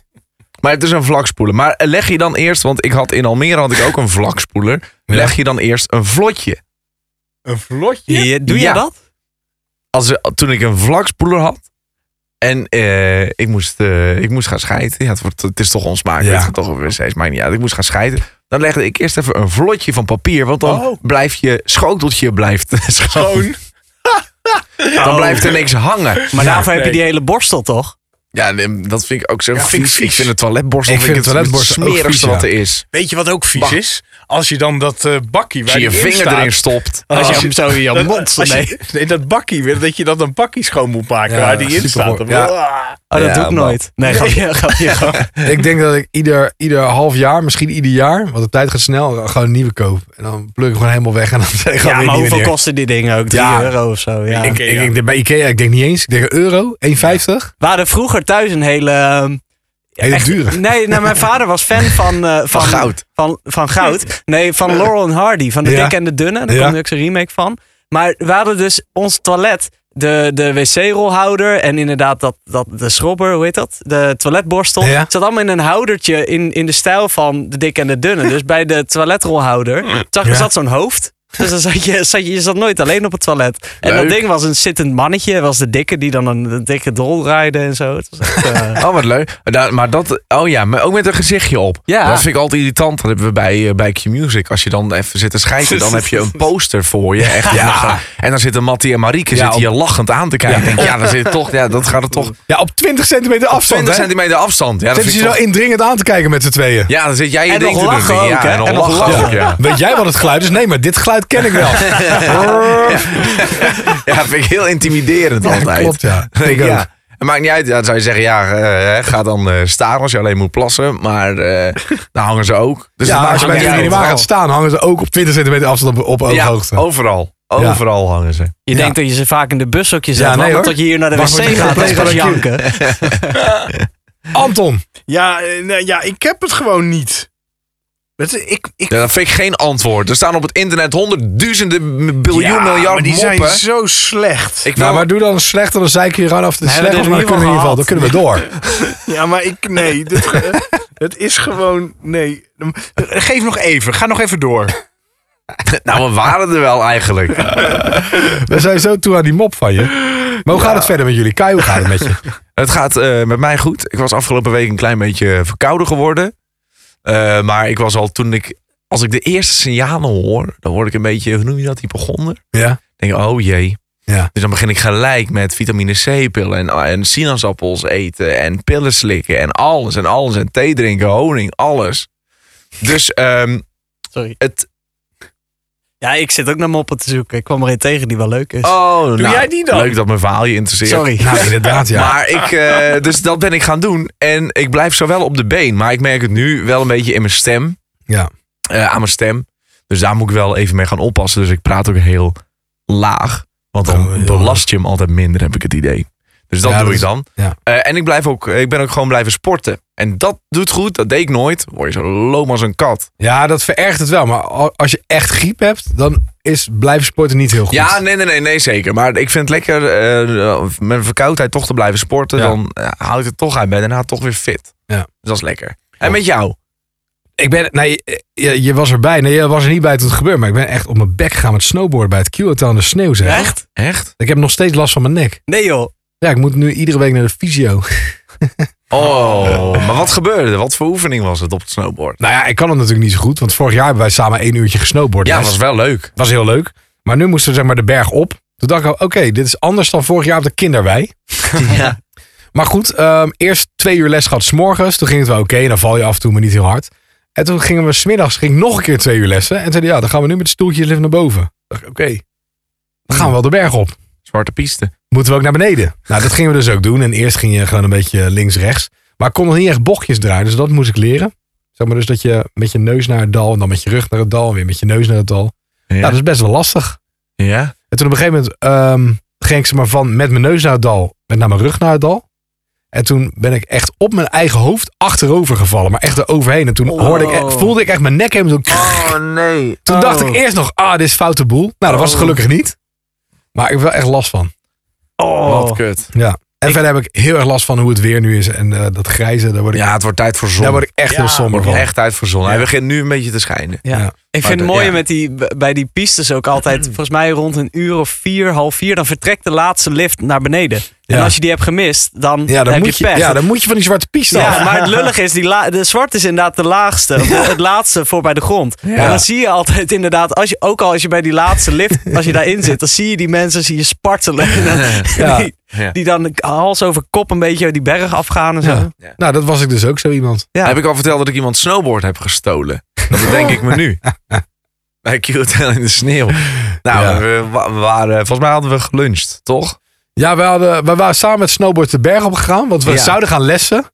[SPEAKER 2] Maar het is een vlakspoeler. Maar leg je dan eerst, want ik had in Almere had ik ook een vlakspoeler.
[SPEAKER 1] Ja.
[SPEAKER 2] Leg je dan eerst een vlotje.
[SPEAKER 3] Een vlotje.
[SPEAKER 4] je- doe
[SPEAKER 2] Ja.
[SPEAKER 4] je dat?
[SPEAKER 2] Als, toen ik een vlakspoeler had. En eh, ik, moest, eh, ik moest gaan scheiden. Ja, het, wordt, het is toch onsmakelijk.
[SPEAKER 1] Ja.
[SPEAKER 2] Het gaat toch over wc's, maakt niet uit. Ik moest gaan scheiden. Dan legde ik eerst even een vlotje van papier. Want dan
[SPEAKER 3] Oh.
[SPEAKER 2] blijft je schoteltje blijft schoon.
[SPEAKER 3] Gewoon.
[SPEAKER 2] Dan blijft er niks hangen.
[SPEAKER 4] Maar daarvoor heb
[SPEAKER 3] nee.
[SPEAKER 4] je die hele borstel toch?
[SPEAKER 2] Ja, nee, dat vind ik ook zo.
[SPEAKER 3] Ja,
[SPEAKER 2] vies.
[SPEAKER 3] vies.
[SPEAKER 2] Ik vind het toiletborstel
[SPEAKER 1] Ik
[SPEAKER 2] vind
[SPEAKER 1] vind
[SPEAKER 2] ik het,
[SPEAKER 1] toiletborstel ook
[SPEAKER 2] smerigste
[SPEAKER 1] vies,
[SPEAKER 2] wat
[SPEAKER 1] ja.
[SPEAKER 2] er is.
[SPEAKER 3] Weet je wat ook vies
[SPEAKER 2] Bah.
[SPEAKER 3] is? Als je dan dat eh bakkie
[SPEAKER 2] Als
[SPEAKER 3] waar
[SPEAKER 2] je je
[SPEAKER 3] die in
[SPEAKER 2] vinger
[SPEAKER 3] staat,
[SPEAKER 2] erin stopt. Oh. Ah.
[SPEAKER 4] Als je
[SPEAKER 3] als
[SPEAKER 4] hem zo in je
[SPEAKER 3] dat-
[SPEAKER 4] mond...
[SPEAKER 3] als je-
[SPEAKER 4] Nee.
[SPEAKER 3] nee, dat bakkie weer. Dat je dat een bakkie schoon moet maken
[SPEAKER 1] Ja,
[SPEAKER 3] waar die in
[SPEAKER 1] supergoor.
[SPEAKER 3] staat.
[SPEAKER 1] Ja.
[SPEAKER 3] Ah.
[SPEAKER 4] Oh, dat
[SPEAKER 2] Ja,
[SPEAKER 4] doe ik
[SPEAKER 2] man.
[SPEAKER 4] nooit. Nee, grapje, grapje, grapje.
[SPEAKER 1] Ik denk dat ik ieder, ieder half jaar, misschien ieder jaar, want de tijd gaat snel, gewoon een nieuwe koop. En dan pluk ik gewoon helemaal weg en dan zeg ik gewoon
[SPEAKER 4] Ja,
[SPEAKER 1] weer
[SPEAKER 4] maar
[SPEAKER 1] nieuwe
[SPEAKER 4] hoeveel
[SPEAKER 1] neer.
[SPEAKER 4] kosten die dingen ook? 3
[SPEAKER 1] Ja.
[SPEAKER 4] euro of zo. Ja.
[SPEAKER 1] Ik,
[SPEAKER 3] Ikea.
[SPEAKER 1] ik, denk bij Ikea, ik denk niet eens. Ik denk een euro, 1,50.
[SPEAKER 4] We hadden vroeger thuis een hele... ehm,
[SPEAKER 1] Hele
[SPEAKER 4] echt-
[SPEAKER 1] dure.
[SPEAKER 4] Nee, nou, mijn vader was fan van... eh, van,
[SPEAKER 2] goud.
[SPEAKER 4] Van, van goud. Nee, van Laurel en Hardy. Van de
[SPEAKER 1] Ja.
[SPEAKER 4] dikke en de dunne. Daar
[SPEAKER 1] Ja.
[SPEAKER 4] komt nu ook zijn remake van. Maar we hadden dus ons toilet... De, de wc-rolhouder en inderdaad dat, dat, de schrobber, hoe heet dat? De toiletborstel.
[SPEAKER 1] Ja.
[SPEAKER 4] Het zat allemaal in een houdertje in, in de stijl van de dikke en de dunne. Dus bij de toiletrolhouder zag,
[SPEAKER 1] Ja.
[SPEAKER 4] zat zo'n hoofd. Dus dan zat je, zat je, je zat nooit alleen op het toilet. En
[SPEAKER 2] Leuk.
[SPEAKER 4] dat ding was een zittend mannetje. Dat was de dikke die dan een, een dikke dol draaide en zo. Het was echt, eh,
[SPEAKER 2] Oh, wat leuk. Da- maar dat, oh ja, maar ook met een gezichtje op.
[SPEAKER 4] Ja.
[SPEAKER 2] Dat vind ik altijd irritant. Dat hebben we bij, eh, bij Q-Music. Als je dan even zit te schijten, dan heb je een poster voor je. Echt, ja. En dan zitten Mattie en Marieke
[SPEAKER 1] Ja,
[SPEAKER 2] zitten je lachend aan te kijken. Ja, denk, ja, dan zit toch, ja dat gaat er toch
[SPEAKER 1] Ja, op 20 centimeter afstand.
[SPEAKER 2] 20
[SPEAKER 1] hè?
[SPEAKER 2] centimeter afstand. Ja, dat
[SPEAKER 1] Zitten
[SPEAKER 2] vind
[SPEAKER 1] ze
[SPEAKER 2] ik
[SPEAKER 1] zo
[SPEAKER 2] toch-
[SPEAKER 1] indringend aan te kijken met z'n tweeën.
[SPEAKER 2] ja, dan zit jij je
[SPEAKER 4] En
[SPEAKER 2] ding
[SPEAKER 4] nog
[SPEAKER 2] te doen.
[SPEAKER 4] lachen
[SPEAKER 2] ja,
[SPEAKER 4] ook, hè?
[SPEAKER 2] En nog
[SPEAKER 4] En nog
[SPEAKER 2] lachen ook,
[SPEAKER 4] lachen.
[SPEAKER 2] ja.
[SPEAKER 1] Weet jij wat het geluid is? Nee, maar dit geluid ken ik wel.
[SPEAKER 2] Ja, dat vind ik heel intimiderend altijd.
[SPEAKER 1] Klopt, ja. Ik ook.
[SPEAKER 2] Ja. Het maakt niet uit. Ja, dan zou je zeggen, ja, eh, ga dan eh, staan als je alleen moet plassen. Maar eh dan hangen ze ook. Dus
[SPEAKER 1] Ja,
[SPEAKER 2] het maakt
[SPEAKER 1] als je bij
[SPEAKER 2] niet
[SPEAKER 1] de
[SPEAKER 2] uit.
[SPEAKER 1] minimaal gaat staan, hangen ze ook op 20 centimeter afstand op, op
[SPEAKER 2] Ja, Oh.
[SPEAKER 1] ooghoogte.
[SPEAKER 2] overal.
[SPEAKER 1] Ja.
[SPEAKER 2] Overal hangen ze.
[SPEAKER 4] Je
[SPEAKER 1] Ja.
[SPEAKER 4] denkt dat je ze vaak in de bushokje zet,
[SPEAKER 1] Ja, nee,
[SPEAKER 4] want
[SPEAKER 1] hoor.
[SPEAKER 4] dat je hier naar de
[SPEAKER 1] Wacht,
[SPEAKER 4] wc
[SPEAKER 1] maar die
[SPEAKER 4] gaat, dat is
[SPEAKER 1] verpleger
[SPEAKER 4] pas
[SPEAKER 1] dat ik-
[SPEAKER 4] janken.
[SPEAKER 1] Anton,
[SPEAKER 3] Ja, eh, nee, ja, ik heb het gewoon niet. Dat is, ik, ik,
[SPEAKER 2] Ja, dat vind ik geen antwoord. Er staan op het internet honderdduizenden m- biljoen
[SPEAKER 3] Ja,
[SPEAKER 2] miljard
[SPEAKER 3] maar die
[SPEAKER 2] moppen.
[SPEAKER 3] zijn zo slecht.
[SPEAKER 2] Ik wil-
[SPEAKER 1] Nou, maar doe dan slecht, dan zeik je gewoon af. Het is
[SPEAKER 4] Nee, maar
[SPEAKER 1] slecht,
[SPEAKER 4] dit
[SPEAKER 1] maar dan
[SPEAKER 4] hebben
[SPEAKER 1] kunnen we in
[SPEAKER 4] we
[SPEAKER 1] ieder geval dan kunnen we door.
[SPEAKER 3] Ja, maar ik, nee. Dit, ge- het is gewoon, nee. Geef nog even, ga nog even door.
[SPEAKER 2] Nou, we waren er wel eigenlijk.
[SPEAKER 1] We zijn zo toe aan die mop van je. Maar hoe gaat het verder met jullie? Kai, hoe gaat het met je?
[SPEAKER 2] Het gaat eh, met mij goed. Ik was afgelopen week een klein beetje verkouden geworden. Eh, maar ik was al toen ik... Als ik de eerste signalen hoor, dan word ik een beetje... Hoe noem je dat? Hypochonder?
[SPEAKER 1] Ja.
[SPEAKER 2] denk ik, oh jee.
[SPEAKER 1] Ja.
[SPEAKER 2] Dus dan begin ik gelijk met vitamine C-pillen en, en sinaasappels eten en pillen slikken en alles en alles. En thee drinken, honing, alles. Dus ehm,
[SPEAKER 4] Sorry.
[SPEAKER 2] het...
[SPEAKER 4] Ja, ik zit ook naar moppen te zoeken. Ik kwam er een tegen die wel leuk is.
[SPEAKER 2] Oh, Doe
[SPEAKER 3] jij die dan?
[SPEAKER 2] Leuk dat mijn verhaal je interesseert.
[SPEAKER 4] Sorry.
[SPEAKER 1] Nou, inderdaad, ja.
[SPEAKER 2] Maar ik, eh, dus dat ben ik gaan doen. En ik blijf zo wel op de been. Maar ik merk het nu wel een beetje in mijn stem.
[SPEAKER 1] Ja.
[SPEAKER 2] Eh, aan mijn stem. Dus daar moet ik wel even mee gaan oppassen. Dus ik praat ook heel laag. Want dan
[SPEAKER 1] Oh, heel
[SPEAKER 2] belast je hem altijd minder, heb ik het idee. Dus dat
[SPEAKER 1] Ja,
[SPEAKER 2] doe
[SPEAKER 1] dat
[SPEAKER 2] ik
[SPEAKER 1] is-
[SPEAKER 2] dan.
[SPEAKER 1] ja.
[SPEAKER 2] Eh, en ik, blijf ook, ik ben ook gewoon blijven sporten. En dat doet goed. Dat deed ik nooit. Word je zo loom als een kat.
[SPEAKER 1] ja, dat verergt het wel. Maar al- als je echt griep hebt, dan is blijven sporten niet heel goed.
[SPEAKER 2] Ja, nee, nee, nee, nee, zeker. Maar ik vind het lekker eh, met een verkoudheid toch te blijven sporten.
[SPEAKER 1] Ja.
[SPEAKER 2] Dan eh, houdt het toch uit bed en houdt het toch weer fit.
[SPEAKER 1] Ja.
[SPEAKER 2] Dus dat is lekker. En met jou?
[SPEAKER 1] Ik ben, nee, je, je was erbij. Nee, je was er niet bij toen het gebeurde. Maar ik ben echt op mijn bek gegaan met snowboarden bij het Q-hotel in de sneeuw. Zeg.
[SPEAKER 4] Echt?
[SPEAKER 2] Echt?
[SPEAKER 1] Ik heb nog steeds last van mijn nek.
[SPEAKER 4] Nee joh.
[SPEAKER 1] Ja, ik moet nu iedere week naar de fysio.
[SPEAKER 2] Oh, maar wat gebeurde er? Wat voor oefening was het op het snowboard?
[SPEAKER 1] Nou ja, ik kan het natuurlijk niet zo goed. Want vorig jaar hebben wij samen één uurtje gesnowboard.
[SPEAKER 2] Ja, dat was wel leuk.
[SPEAKER 1] was heel leuk. Maar nu moesten we zeg maar de berg op. Toen dacht ik, oké, dit is anders dan vorig jaar op de kinderwei.
[SPEAKER 2] Ja.
[SPEAKER 1] Maar goed, ehm, eerst twee uur les gehad 's morgens. Toen ging het wel oké. en dan val je af en toe, maar niet heel hard. En toen gingen we smiddags ging ik nog een keer twee uur lessen. En toen zeiden ja, dan gaan we nu met de stoeltjes even naar boven. Toen dacht ik, oké, dan gaan we wel de berg op.
[SPEAKER 2] Zwarte piste.
[SPEAKER 1] Moeten we ook naar beneden? Nou, dat gingen we dus ook doen. En eerst ging je gewoon een beetje links-rechts. Maar ik kon nog niet echt bochtjes draaien, dus dat moest ik leren. Zeg maar dus dat je met je neus naar het dal en dan met je rug naar het dal en weer met je neus naar het dal. Ja, dat is best wel lastig.
[SPEAKER 2] Ja?
[SPEAKER 1] En toen op een gegeven moment ehm, ging ik ze maar van met mijn neus naar het dal en naar mijn rug naar het dal. En toen ben ik echt op mijn eigen hoofd achterover gevallen, maar echt eroverheen. En toen hoorde ik, echt- voelde ik echt mijn nek helemaal zo.
[SPEAKER 2] nee.
[SPEAKER 1] Toen
[SPEAKER 4] Oh.
[SPEAKER 1] dacht ik eerst nog, ah, dit is foute boel. Nou, dat was het
[SPEAKER 4] Oh.
[SPEAKER 1] gelukkig niet. Maar ik heb wel echt last van.
[SPEAKER 4] Oh.
[SPEAKER 2] Wat kut.
[SPEAKER 1] En verder heb ik heel erg last van hoe het weer nu is. En eh, dat grijze, daar word ik,
[SPEAKER 2] Ja, het wordt tijd voor zon.
[SPEAKER 1] daar word ik echt heel somber
[SPEAKER 2] Wordt
[SPEAKER 1] van.
[SPEAKER 2] echt tijd voor zon. Hij
[SPEAKER 1] Ja.
[SPEAKER 2] begint nu een beetje te schijnen.
[SPEAKER 4] Ja.
[SPEAKER 1] Ja.
[SPEAKER 4] Ik
[SPEAKER 2] Maar
[SPEAKER 4] vind
[SPEAKER 2] de-
[SPEAKER 4] het mooie
[SPEAKER 2] ja.
[SPEAKER 4] met die, b- bij die pistes ook altijd, volgens mij rond een uur of vier, half vier, dan vertrekt de laatste lift naar beneden. En
[SPEAKER 1] Ja.
[SPEAKER 4] als je die hebt gemist, dan,
[SPEAKER 1] Ja, dan,
[SPEAKER 4] heb
[SPEAKER 1] moet
[SPEAKER 4] je
[SPEAKER 1] je,
[SPEAKER 4] pech.
[SPEAKER 1] ja, dan moet je van die zwarte piste af.
[SPEAKER 4] Ja, maar het lullig is, die la- de zwart is inderdaad de laagste. of de- Het laatste voor bij de grond. En dan zie je altijd inderdaad, als je, ook al als je bij die laatste lift, als je daarin zit, dan zie je die mensen zie je spartelen. En dan-
[SPEAKER 1] Ja.
[SPEAKER 4] die,
[SPEAKER 2] Ja.
[SPEAKER 4] die dan hals over kop een beetje die berg afgaan en zo.
[SPEAKER 1] Ja. Nou, dat was ik dus ook zo iemand.
[SPEAKER 4] Ja.
[SPEAKER 2] Heb ik al verteld dat ik iemand snowboard heb gestolen? Dat bedenk ik me nu. Bij Q-Hotel in de sneeuw. Nou,
[SPEAKER 1] Ja.
[SPEAKER 2] we, wa- we waren, volgens mij hadden we geluncht, toch?
[SPEAKER 1] Ja, we, hadden, we waren samen met Snowboard de berg op gegaan. Want we
[SPEAKER 2] Ja.
[SPEAKER 1] zouden gaan lessen.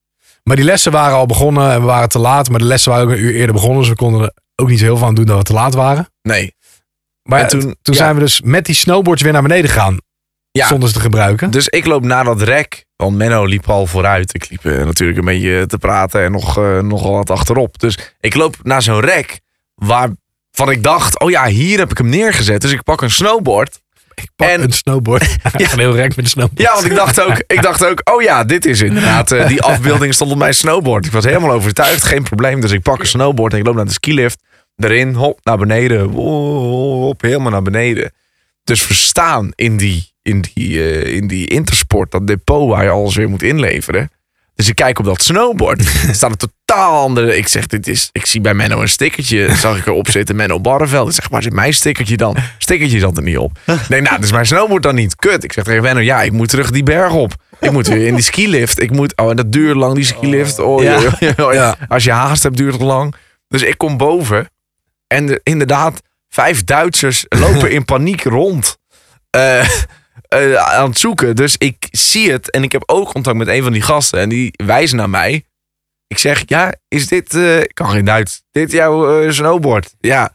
[SPEAKER 1] Maar die lessen waren al begonnen en we waren te laat. Maar de lessen waren ook een uur eerder begonnen. Dus we konden er ook niet zo heel veel aan doen dat we te laat waren.
[SPEAKER 2] Nee.
[SPEAKER 1] Maar
[SPEAKER 2] En
[SPEAKER 1] toen,
[SPEAKER 2] toen-
[SPEAKER 1] toen
[SPEAKER 2] ja.
[SPEAKER 1] zijn we dus met die snowboards weer naar beneden gegaan.
[SPEAKER 2] Ja.
[SPEAKER 1] Zonder ze te gebruiken.
[SPEAKER 2] Dus ik loop naar dat rek. Want Menno liep al vooruit. Ik liep eh, natuurlijk een beetje te praten en nog, eh, nogal wat achterop. Dus ik loop naar zo'n rek waarvan ik dacht, oh ja, hier heb ik hem neergezet. Dus ik pak een snowboard.
[SPEAKER 1] Ik pak
[SPEAKER 2] en-
[SPEAKER 1] een snowboard. ja. Een heel rek met een snowboard.
[SPEAKER 2] Ja, want ik dacht ook, ik dacht ook oh ja, dit is inderdaad. eh, die afbeelding stond op mijn snowboard. Ik was helemaal overtuigd, geen probleem. Dus ik pak een snowboard en ik loop naar de skilift. Erin, hop, naar beneden. Wo- Hop, helemaal naar beneden. Dus verstaan in die, in die, eh, in die intersport, dat depot waar je alles weer moet inleveren. Dus ik kijk op dat snowboard. Er staat een totaal andere. Ik zeg, dit is. Ik zie bij Menno een stickertje. Zag ik erop zitten. Menno Barreveld. Ik zeg, waar zit mijn stickertje dan? Stickertje zat er niet op. Ik denk, nou, dus mijn snowboard dan niet. Kut. Ik zeg tegen Menno, ja, ik moet terug die berg op. Ik moet weer in die skilift. Ik moet. Oh, en dat duurt lang, die skilift. Oh,
[SPEAKER 4] Ja.
[SPEAKER 2] joh, joh, joh.
[SPEAKER 1] Ja.
[SPEAKER 2] Als je haast hebt, duurt het lang. Dus ik kom boven. En er- inderdaad, vijf Duitsers lopen in paniek rond. Eh, eh, aan het zoeken. Dus ik zie het en ik heb ook contact met een van die gasten. En die wijzen naar mij. Ik zeg, ja, is dit... eh, ik kan geen Duits. Dit jouw eh, snowboard? Ja.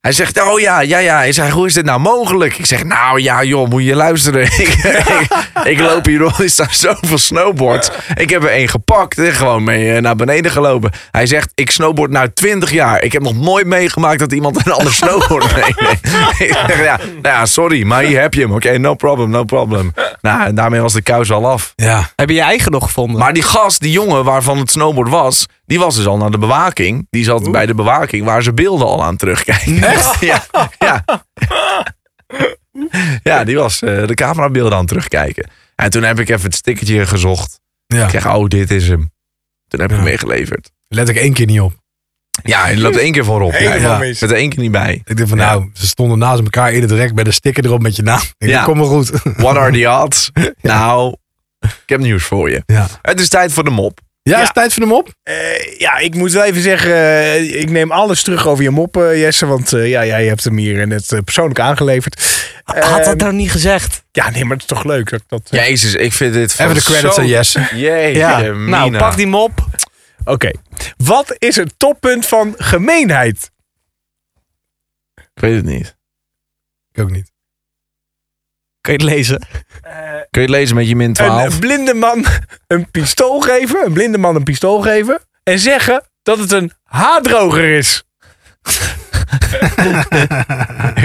[SPEAKER 2] Hij zegt, oh ja, ja, ja. Hij zegt, hoe is dit nou mogelijk? Ik zeg, nou ja, joh, moet je luisteren. ik, ik, ik loop hier rond, er staan zoveel snowboards. Ik heb er één gepakt en gewoon mee eh, naar beneden gelopen. Hij zegt, ik snowboard nu 20 jaar. Ik heb nog nooit meegemaakt dat iemand een ander snowboard meeneemt. ik zeg, ja, nou ja, sorry, maar hier heb je hem. Oké, no problem, no problem. Nou, en daarmee was de kous al af.
[SPEAKER 1] Ja.
[SPEAKER 4] Heb je je eigen nog gevonden?
[SPEAKER 2] Maar die gast, die jongen waarvan het snowboard was, die was dus al naar de bewaking. Die zat bij de bewaking waar ze beelden al aan terugkijken. Echt? Ja. Ja, ja die was eh, de camerabeelden aan het terugkijken. En toen heb ik even het stickertje gezocht.
[SPEAKER 1] ja.
[SPEAKER 2] Ik zeg, oh, dit is hem. Toen heb ik
[SPEAKER 1] Ja.
[SPEAKER 2] hem meegeleverd.
[SPEAKER 1] Let ik één keer niet op.
[SPEAKER 2] Ja, hij loopt één keer voorop.
[SPEAKER 3] Helemaal
[SPEAKER 2] Ja, ja.
[SPEAKER 3] mis.
[SPEAKER 2] Zit er één keer niet bij.
[SPEAKER 1] Ik dacht van
[SPEAKER 2] Ja.
[SPEAKER 1] nou, ze stonden naast elkaar in het rek bij de sticker erop met je naam. Ik dacht,
[SPEAKER 2] Ja.
[SPEAKER 1] kom maar goed.
[SPEAKER 2] What are the odds? Nou, ik heb nieuws voor je.
[SPEAKER 1] Ja,
[SPEAKER 2] Het is tijd voor de mop.
[SPEAKER 1] ja, is
[SPEAKER 3] Ja.
[SPEAKER 1] het tijd voor hem op?
[SPEAKER 3] Eh, ja, ik moet wel even zeggen, eh, ik neem alles terug over je mop, eh, Jesse. Want eh, ja, jij hebt hem hier net eh, persoonlijk aangeleverd.
[SPEAKER 4] Had
[SPEAKER 3] Ehm,
[SPEAKER 4] dat nou niet gezegd?
[SPEAKER 3] Ja, nee, maar het is toch leuk dat eh, ik dat...
[SPEAKER 2] Jezus, ik vind dit van
[SPEAKER 1] Even de credits
[SPEAKER 2] zo-
[SPEAKER 1] aan Jesse.
[SPEAKER 2] Jeetje,
[SPEAKER 4] Nou,
[SPEAKER 2] mina.
[SPEAKER 4] pak die mop.
[SPEAKER 3] Oké. Wat is het toppunt van gemeenheid?
[SPEAKER 2] Ik weet het niet.
[SPEAKER 1] Ik ook niet.
[SPEAKER 4] Kun je het lezen?
[SPEAKER 2] Kun je het lezen met je min
[SPEAKER 3] Een
[SPEAKER 2] 12?
[SPEAKER 3] blinde man een pistool geven, een blinde man een pistool geven en zeggen dat het een haardroger is.
[SPEAKER 2] eh,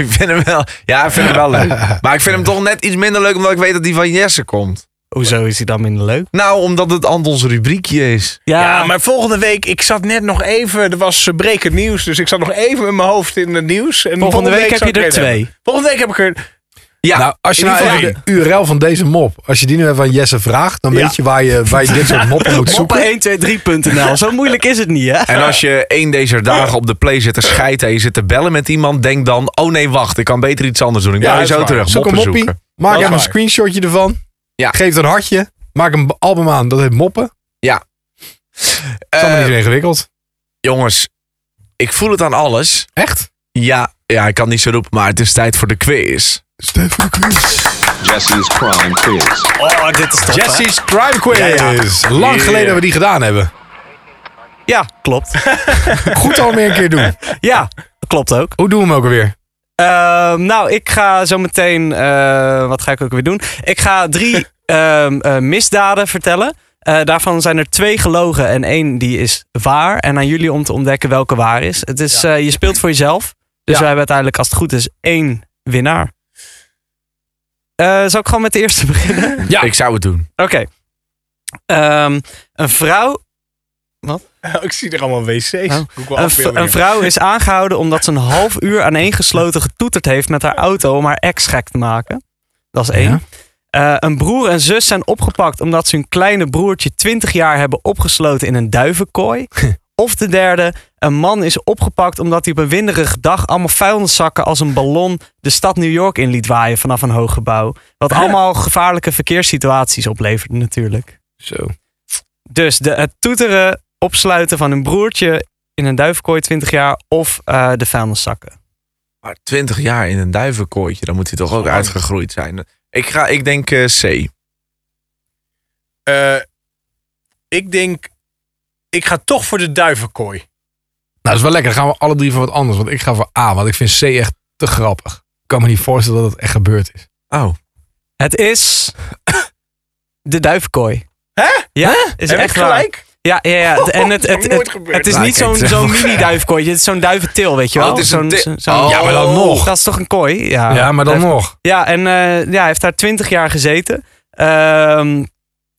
[SPEAKER 2] ik vind hem wel. Ja, ik vind hem wel leuk. Maar ik vind hem toch net iets minder leuk omdat ik weet dat die van Jesse komt.
[SPEAKER 4] Hoezo is hij dan minder leuk?
[SPEAKER 2] Nou, omdat het Antons rubriekje is.
[SPEAKER 4] Ja,
[SPEAKER 3] Ja, maar volgende week, ik zat net nog even, er was eh, brekend nieuws, dus ik zat nog even met mijn hoofd in het nieuws. En
[SPEAKER 4] volgende, week,
[SPEAKER 3] zou
[SPEAKER 4] heb je
[SPEAKER 3] ik
[SPEAKER 4] er
[SPEAKER 3] het hebben.
[SPEAKER 4] twee.
[SPEAKER 3] Volgende week heb ik er...
[SPEAKER 2] Ja,
[SPEAKER 1] nou, als je
[SPEAKER 3] in
[SPEAKER 1] nou
[SPEAKER 3] ieder
[SPEAKER 1] even de URL van deze mop, als je die nu even aan Jesse vraagt, dan
[SPEAKER 3] Ja.
[SPEAKER 1] weet je waar je, waar je dit soort moppen moet zoeken.
[SPEAKER 4] Moppen 1, 2, 3.nl. nou. Zo moeilijk is het niet, hè?
[SPEAKER 2] en als je één deze dagen op de play zit te scheiden en je zit te bellen met iemand, denk dan: oh nee, wacht, ik kan beter iets anders doen. Ik
[SPEAKER 3] Ja,
[SPEAKER 2] ben je
[SPEAKER 3] dat is
[SPEAKER 2] zo
[SPEAKER 3] waar.
[SPEAKER 2] terug.
[SPEAKER 1] Zoek een
[SPEAKER 2] Moppen
[SPEAKER 1] moppie,
[SPEAKER 2] zoeken.
[SPEAKER 1] maak
[SPEAKER 3] Dat is
[SPEAKER 1] even een
[SPEAKER 3] waar.
[SPEAKER 1] screenshotje ervan.
[SPEAKER 2] Ja.
[SPEAKER 1] Geef het een hartje. Maak een album aan, dat heet Moppen. Dat is allemaal
[SPEAKER 2] Eh,
[SPEAKER 1] niet zo ingewikkeld.
[SPEAKER 2] jongens, ik voel het aan alles.
[SPEAKER 1] Echt?
[SPEAKER 2] Ja, ja, ik kan niet zo roepen, maar het is tijd voor de quiz.
[SPEAKER 1] Stefan Quiz.
[SPEAKER 6] Jesse's Crime Quiz.
[SPEAKER 4] Oh, dit is toch. hè?
[SPEAKER 1] Jesse's Crime Quiz. Lang
[SPEAKER 2] Yeah.
[SPEAKER 1] geleden dat we die gedaan hebben.
[SPEAKER 4] Ja, klopt.
[SPEAKER 1] Goed al meer een keer doen.
[SPEAKER 4] Ja, klopt ook.
[SPEAKER 1] Hoe doen we hem ook alweer?
[SPEAKER 4] Ehm, nou, ik ga zo meteen. eh, wat ga ik ook weer doen? Ik ga drie ehm, eh, misdaden vertellen. Eh, daarvan zijn er twee gelogen en één die is waar. En aan jullie om te ontdekken welke waar is. Het is eh, je speelt voor jezelf. Dus
[SPEAKER 1] Ja.
[SPEAKER 4] wij hebben uiteindelijk, als het goed is, één winnaar. Eh zal ik gewoon met de eerste beginnen?
[SPEAKER 2] Ja. Ik zou het doen.
[SPEAKER 4] Oké. Ehm, een vrouw
[SPEAKER 3] ik zie er allemaal wc's. Doe ik wel
[SPEAKER 4] Oh. Een, v-
[SPEAKER 3] afbeeldingen.
[SPEAKER 4] een vrouw is aangehouden omdat ze een half uur aaneengesloten getoeterd heeft met haar auto om haar ex gek te maken. Dat is één.
[SPEAKER 1] Ja.
[SPEAKER 4] Eh, een broer en zus zijn opgepakt omdat ze hun kleine broertje 20 jaar hebben opgesloten in een duivenkooi. of de derde, een man is opgepakt omdat hij op een winderige dag allemaal vuilniszakken als een ballon de stad New York in liet waaien vanaf een hoog gebouw. Wat
[SPEAKER 1] Ah.
[SPEAKER 4] allemaal gevaarlijke verkeerssituaties opleverde natuurlijk.
[SPEAKER 1] Zo.
[SPEAKER 4] Dus de, het toeteren, opsluiten van een broertje in een duivenkooi 20 jaar of eh, de vuilniszakken.
[SPEAKER 2] Maar 20 jaar in een duivenkooitje, dan moet hij toch ook uitgegroeid zijn. Ik, ga, ik denk eh, C.
[SPEAKER 3] Eh, ik denk, ik ga toch voor de duivenkooi.
[SPEAKER 1] Nou, dat is wel lekker. Dan gaan we alle drie voor wat anders. Want ik ga voor A, want ik vind C echt te grappig. Ik kan me niet voorstellen dat het echt gebeurd is.
[SPEAKER 2] Oh.
[SPEAKER 4] Het is de duivenkooi.
[SPEAKER 3] Hè?
[SPEAKER 4] Ja, is
[SPEAKER 3] Heb
[SPEAKER 4] echt
[SPEAKER 3] ik
[SPEAKER 4] waar.
[SPEAKER 3] gelijk?
[SPEAKER 4] Ja, ja, ja. En het, het,
[SPEAKER 3] Nooit
[SPEAKER 4] het, het,
[SPEAKER 3] gebeurd.
[SPEAKER 4] is
[SPEAKER 2] Nou,
[SPEAKER 4] niet
[SPEAKER 2] kijk,
[SPEAKER 4] zo'n
[SPEAKER 2] zeg
[SPEAKER 4] zo'n
[SPEAKER 2] maar.
[SPEAKER 4] mini-duivenkooi. Het is zo'n duiventil, weet je wel.
[SPEAKER 2] Oh, het is een
[SPEAKER 4] zo'n,
[SPEAKER 2] til-
[SPEAKER 4] zo'n- zo'n-
[SPEAKER 2] Ja, maar dan nog.
[SPEAKER 4] Dat is toch een kooi? Ja,
[SPEAKER 1] ja, maar dan nog.
[SPEAKER 4] Ja, en eh, ja, hij heeft daar 20 jaar gezeten. Ehm,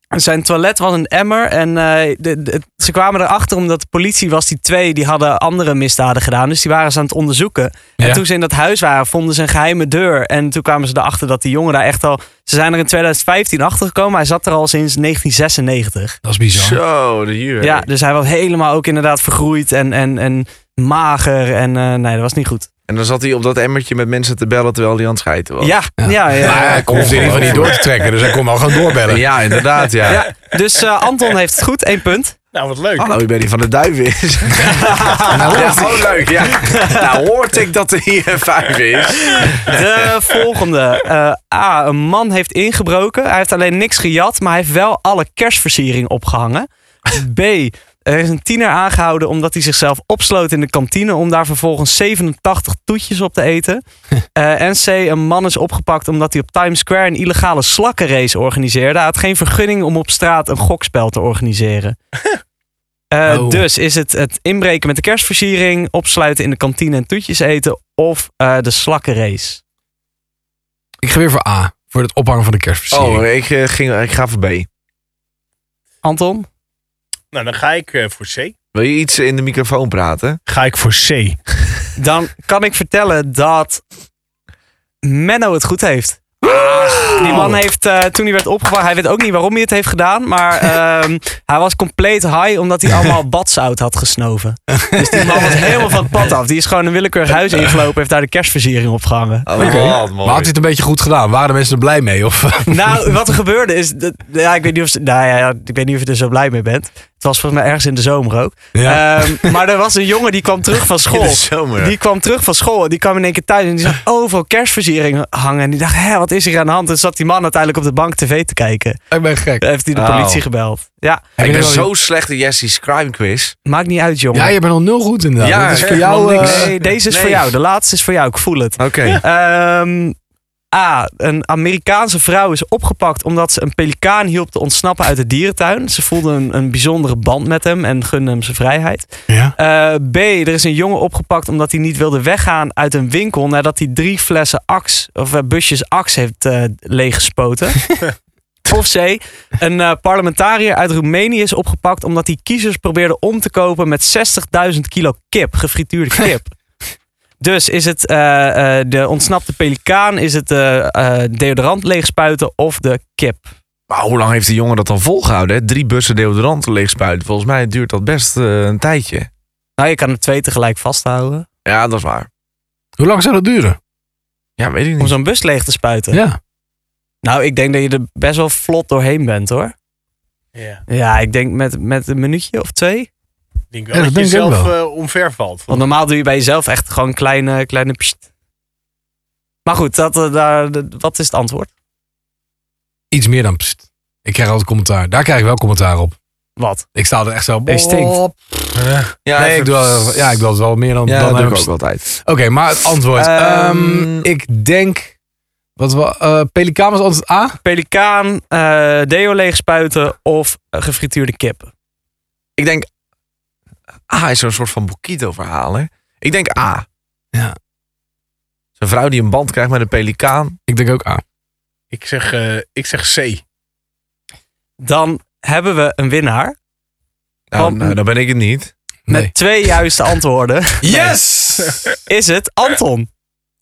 [SPEAKER 4] zijn toilet was een emmer. En eh, de, de- ze kwamen erachter omdat de politie was die twee. Die hadden andere misdaden gedaan. Dus die waren ze aan het onderzoeken. En
[SPEAKER 1] Ja.
[SPEAKER 4] toen ze in dat huis waren, vonden ze een geheime deur. En toen kwamen ze erachter dat die jongen daar echt al... Ze zijn er in 2015 achtergekomen. Hij zat er al sinds 1996.
[SPEAKER 1] Dat is bizar.
[SPEAKER 2] Zo, de jury.
[SPEAKER 4] Ja, dus hij was helemaal ook inderdaad vergroeid en, en, en mager. En eh, nee, dat was niet goed.
[SPEAKER 2] En dan zat hij op dat emmertje met mensen te bellen terwijl hij aan het schijten was.
[SPEAKER 4] Ja, ja, ja. ja.
[SPEAKER 1] Maar hij kon in ieder geval niet door te trekken. Dus hij kon wel gaan doorbellen.
[SPEAKER 2] Ja, inderdaad, ja.
[SPEAKER 4] Ja, dus eh, Anton heeft het goed, één punt.
[SPEAKER 3] Nou, wat
[SPEAKER 4] Ah.
[SPEAKER 3] leuk.
[SPEAKER 2] Hallo, je bent die van de duiven is.
[SPEAKER 1] Nou,
[SPEAKER 2] Ja, oh, leuk, ja. Nou, hoort ik dat er hier een vijf is.
[SPEAKER 4] De volgende. Eh, A. Een man heeft ingebroken. Hij heeft alleen niks gejat, maar hij heeft wel alle kerstversiering opgehangen. B. Er is een tiener aangehouden omdat hij zichzelf opsloot in de kantine om daar vervolgens 87 toetjes op te eten. Eh, en C, een man is opgepakt omdat hij op Times Square een illegale slakkenrace organiseerde. Hij had geen vergunning om op straat een gokspel te organiseren. Eh,
[SPEAKER 1] Oh.
[SPEAKER 4] Dus is het het inbreken met de kerstversiering, opsluiten in de kantine en toetjes eten of eh, de slakkenrace?
[SPEAKER 1] Ik ga weer voor A. Voor het ophangen van de kerstversiering.
[SPEAKER 2] Oh, ik, eh, ging, ik ga voor B.
[SPEAKER 4] Anton?
[SPEAKER 3] Nou, dan ga ik eh, voor C.
[SPEAKER 2] Wil je iets in de microfoon praten?
[SPEAKER 3] Ga ik voor C.
[SPEAKER 4] Dan kan ik vertellen dat Menno het goed heeft. Die man heeft, eh, toen hij werd opgepakt, hij weet ook niet waarom hij het heeft gedaan. Maar ehm, hij was compleet high omdat hij allemaal badzout had gesnoven. Dus die man was helemaal van het pad af. Die is gewoon een willekeurig huis ingelopen, heeft daar de kerstversiering opgehangen.
[SPEAKER 2] Oh, wat
[SPEAKER 1] maar
[SPEAKER 2] mooi.
[SPEAKER 1] had hij het een beetje goed gedaan? Waren de mensen er blij mee? Of,
[SPEAKER 4] Nou, wat er gebeurde is. dat- ja, ik, weet niet of, ze- nou ja, ik weet niet of je er zo blij mee bent. Het was volgens mij ergens in de zomer ook.
[SPEAKER 1] Ja.
[SPEAKER 4] Ehm, maar er was een jongen die kwam terug van
[SPEAKER 2] In
[SPEAKER 4] school.
[SPEAKER 2] de zomer.
[SPEAKER 4] Die kwam terug van school. en Die kwam in één keer thuis en die zag overal kerstversieringen hangen. En die dacht, hé, wat is er aan de hand? En zat die man uiteindelijk op de bank tv te kijken.
[SPEAKER 1] ik ben gek.
[SPEAKER 4] Toen heeft hij de
[SPEAKER 2] Oh.
[SPEAKER 4] politie gebeld. Ja,
[SPEAKER 2] ik ben
[SPEAKER 1] Heb je
[SPEAKER 2] zo
[SPEAKER 1] wel-
[SPEAKER 2] slecht in Jesse's crime quiz.
[SPEAKER 4] maakt niet uit, jongen.
[SPEAKER 1] Ja, je bent al nul goed inderdaad.
[SPEAKER 2] Ja,
[SPEAKER 1] dat is voor
[SPEAKER 2] echt,
[SPEAKER 1] jou...
[SPEAKER 2] man,
[SPEAKER 1] eh,
[SPEAKER 2] niks.
[SPEAKER 4] Nee, deze is
[SPEAKER 2] Nee.
[SPEAKER 4] voor jou. De laatste is voor jou. Ik voel het.
[SPEAKER 2] Oké.
[SPEAKER 4] Ehm, A. Een Amerikaanse vrouw is opgepakt omdat ze een pelikaan hielp te ontsnappen uit de dierentuin. Ze voelde een, een bijzondere band met hem en gunde hem zijn vrijheid.
[SPEAKER 1] ja.
[SPEAKER 4] Eh, B. Er is een jongen opgepakt omdat hij niet wilde weggaan uit een winkel nadat hij drie flessen aks, of eh, busjes aks heeft eh, leeggespoten. Of C. Een eh, parlementariër uit Roemenië is opgepakt omdat hij kiezers probeerde om te kopen met 60.000 kilo kip, gefrituurde kip. dus is het eh, eh, de ontsnapte pelikaan, is het eh, eh, deodorant leegspuiten of de kip?
[SPEAKER 2] Maar hoe lang heeft die jongen dat dan volgehouden? Hè? Drie bussen deodorant leeg spuiten. Volgens mij duurt dat best eh, een tijdje.
[SPEAKER 4] Nou, je kan er twee tegelijk vasthouden
[SPEAKER 2] Ja, dat is waar.
[SPEAKER 1] Hoe lang zou dat duren?
[SPEAKER 2] Ja, weet ik
[SPEAKER 4] om
[SPEAKER 2] niet.
[SPEAKER 4] zo'n bus leeg te spuiten.
[SPEAKER 1] Ja.
[SPEAKER 4] Nou, ik denk dat je er best wel vlot doorheen bent hoor.
[SPEAKER 3] Ja.
[SPEAKER 4] Ja, ik denk met, met een minuutje of twee.
[SPEAKER 3] Ik denk
[SPEAKER 1] Ja,
[SPEAKER 3] wel
[SPEAKER 1] dat
[SPEAKER 3] dat,
[SPEAKER 1] denk
[SPEAKER 3] je
[SPEAKER 1] ik
[SPEAKER 3] zelf
[SPEAKER 1] ook
[SPEAKER 3] eh, omver valt.
[SPEAKER 4] Want normaal doe je bij jezelf echt gewoon kleine, kleine pssst. Maar goed, dat, eh, daar, dat- wat is het antwoord?
[SPEAKER 1] Iets meer dan... pst. Ik krijg altijd commentaar. Daar krijg ik wel commentaar op.
[SPEAKER 4] Wat?
[SPEAKER 1] Ik sta er echt zo... oh,
[SPEAKER 4] Je stinkt.
[SPEAKER 2] Ja,
[SPEAKER 1] Nee,
[SPEAKER 2] even-
[SPEAKER 1] ik doe, wel- ja, ik doe het wel meer dan...
[SPEAKER 2] Ja,
[SPEAKER 1] dan
[SPEAKER 2] dat doe
[SPEAKER 1] heb
[SPEAKER 2] ik
[SPEAKER 1] ik-
[SPEAKER 2] ook altijd.
[SPEAKER 1] Oké, maar het antwoord.
[SPEAKER 4] Ehm,
[SPEAKER 1] Ehm, ik denk... Wat we, eh Pelikaan was antwoord A?
[SPEAKER 4] Pelikaan, eh deo leegspuiten of eh, gefrituurde kip?
[SPEAKER 2] Ik denk... A is zo'n soort van Bokito verhaal, hè? Ik denk A.
[SPEAKER 1] Ja.
[SPEAKER 2] Zo'n vrouw die een band krijgt met een pelikaan.
[SPEAKER 1] Ik denk ook A.
[SPEAKER 3] Ik zeg, eh, ik zeg C.
[SPEAKER 4] Dan hebben we een winnaar
[SPEAKER 2] Nou,
[SPEAKER 4] Oh.
[SPEAKER 2] nou, dan ben ik het niet.
[SPEAKER 1] Nee.
[SPEAKER 4] met twee juiste antwoorden.
[SPEAKER 1] Yes!
[SPEAKER 4] Is het Anton?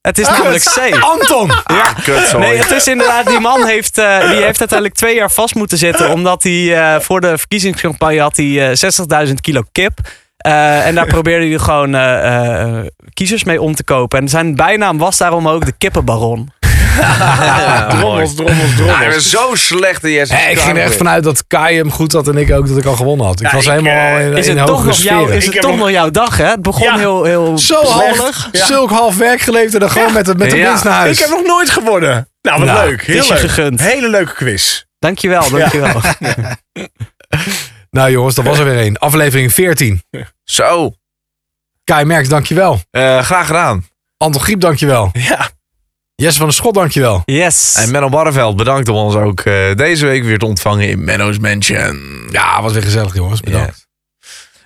[SPEAKER 4] Het
[SPEAKER 3] Oh.
[SPEAKER 4] is namelijk C.
[SPEAKER 1] Anton!
[SPEAKER 2] Ja, Ah, kut, sorry.
[SPEAKER 4] Nee, het is inderdaad, die man heeft, eh, die heeft uiteindelijk twee jaar vast moeten zitten. Omdat hij eh, voor de verkiezingscampagne had hij eh, 60.000 kilo kip. Eh, en daar probeerde hij gewoon eh, eh, kiezers mee om te kopen. En zijn bijnaam was daarom ook de kippenbaron. Ah,
[SPEAKER 2] Ja, mooi.
[SPEAKER 3] Ah, drommels, drommels,
[SPEAKER 2] Ja, ik ben
[SPEAKER 3] drommels.
[SPEAKER 2] zo slecht in Jesse's
[SPEAKER 1] Hey, ik ging er echt
[SPEAKER 2] crime
[SPEAKER 1] vanuit dat Kai hem goed had en ik ook dat ik al gewonnen had. Ik
[SPEAKER 3] Ja,
[SPEAKER 1] was
[SPEAKER 3] ik,
[SPEAKER 1] helemaal
[SPEAKER 3] eh,
[SPEAKER 1] in,
[SPEAKER 4] Is
[SPEAKER 1] in
[SPEAKER 4] het toch,
[SPEAKER 1] hogere
[SPEAKER 4] nog, jouw,
[SPEAKER 1] sferen.
[SPEAKER 4] is het
[SPEAKER 3] Ik heb
[SPEAKER 4] toch
[SPEAKER 3] nog-
[SPEAKER 4] nog jouw dag, hè? Het begon
[SPEAKER 3] Ja.
[SPEAKER 4] heel, heel
[SPEAKER 1] Zo handig.
[SPEAKER 4] hallig.
[SPEAKER 1] Zulk half werk geleverd en dan gewoon met, de- met de
[SPEAKER 2] Ja.
[SPEAKER 1] winst naar huis.
[SPEAKER 3] Ik heb nog nooit gewonnen. Nou, wat
[SPEAKER 4] Nou,
[SPEAKER 3] leuk.
[SPEAKER 4] het is
[SPEAKER 3] Heel
[SPEAKER 4] je
[SPEAKER 3] leuk.
[SPEAKER 4] gegund.
[SPEAKER 3] Hele leuke quiz.
[SPEAKER 4] Dankjewel, dankjewel.
[SPEAKER 1] Nou jongens, dat was er weer één. Aflevering 14.
[SPEAKER 2] Zo,
[SPEAKER 1] Kai Merks, dankjewel.
[SPEAKER 2] eh, graag gedaan.
[SPEAKER 1] Anton Griep, dankjewel.
[SPEAKER 3] Ja.
[SPEAKER 1] Jesse van der Schot, dankjewel.
[SPEAKER 4] Yes.
[SPEAKER 2] En Menno Barreveld, bedankt om ons ook eh, deze week weer te ontvangen in Menno's Mansion.
[SPEAKER 1] Ja, was weer gezellig jongens. Bedankt.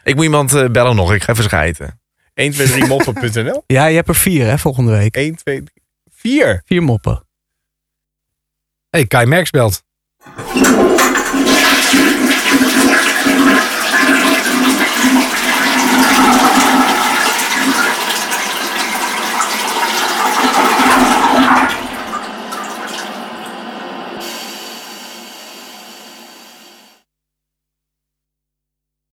[SPEAKER 2] Ik moet iemand eh, bellen nog, ik ga even schijten.
[SPEAKER 3] 1, 2, 3 moppen.nl.
[SPEAKER 4] Ja, je hebt er vier, hè, volgende week.
[SPEAKER 3] 1, 2, 3, 4.
[SPEAKER 4] Vier moppen.
[SPEAKER 1] Hey, Kai Merks belt.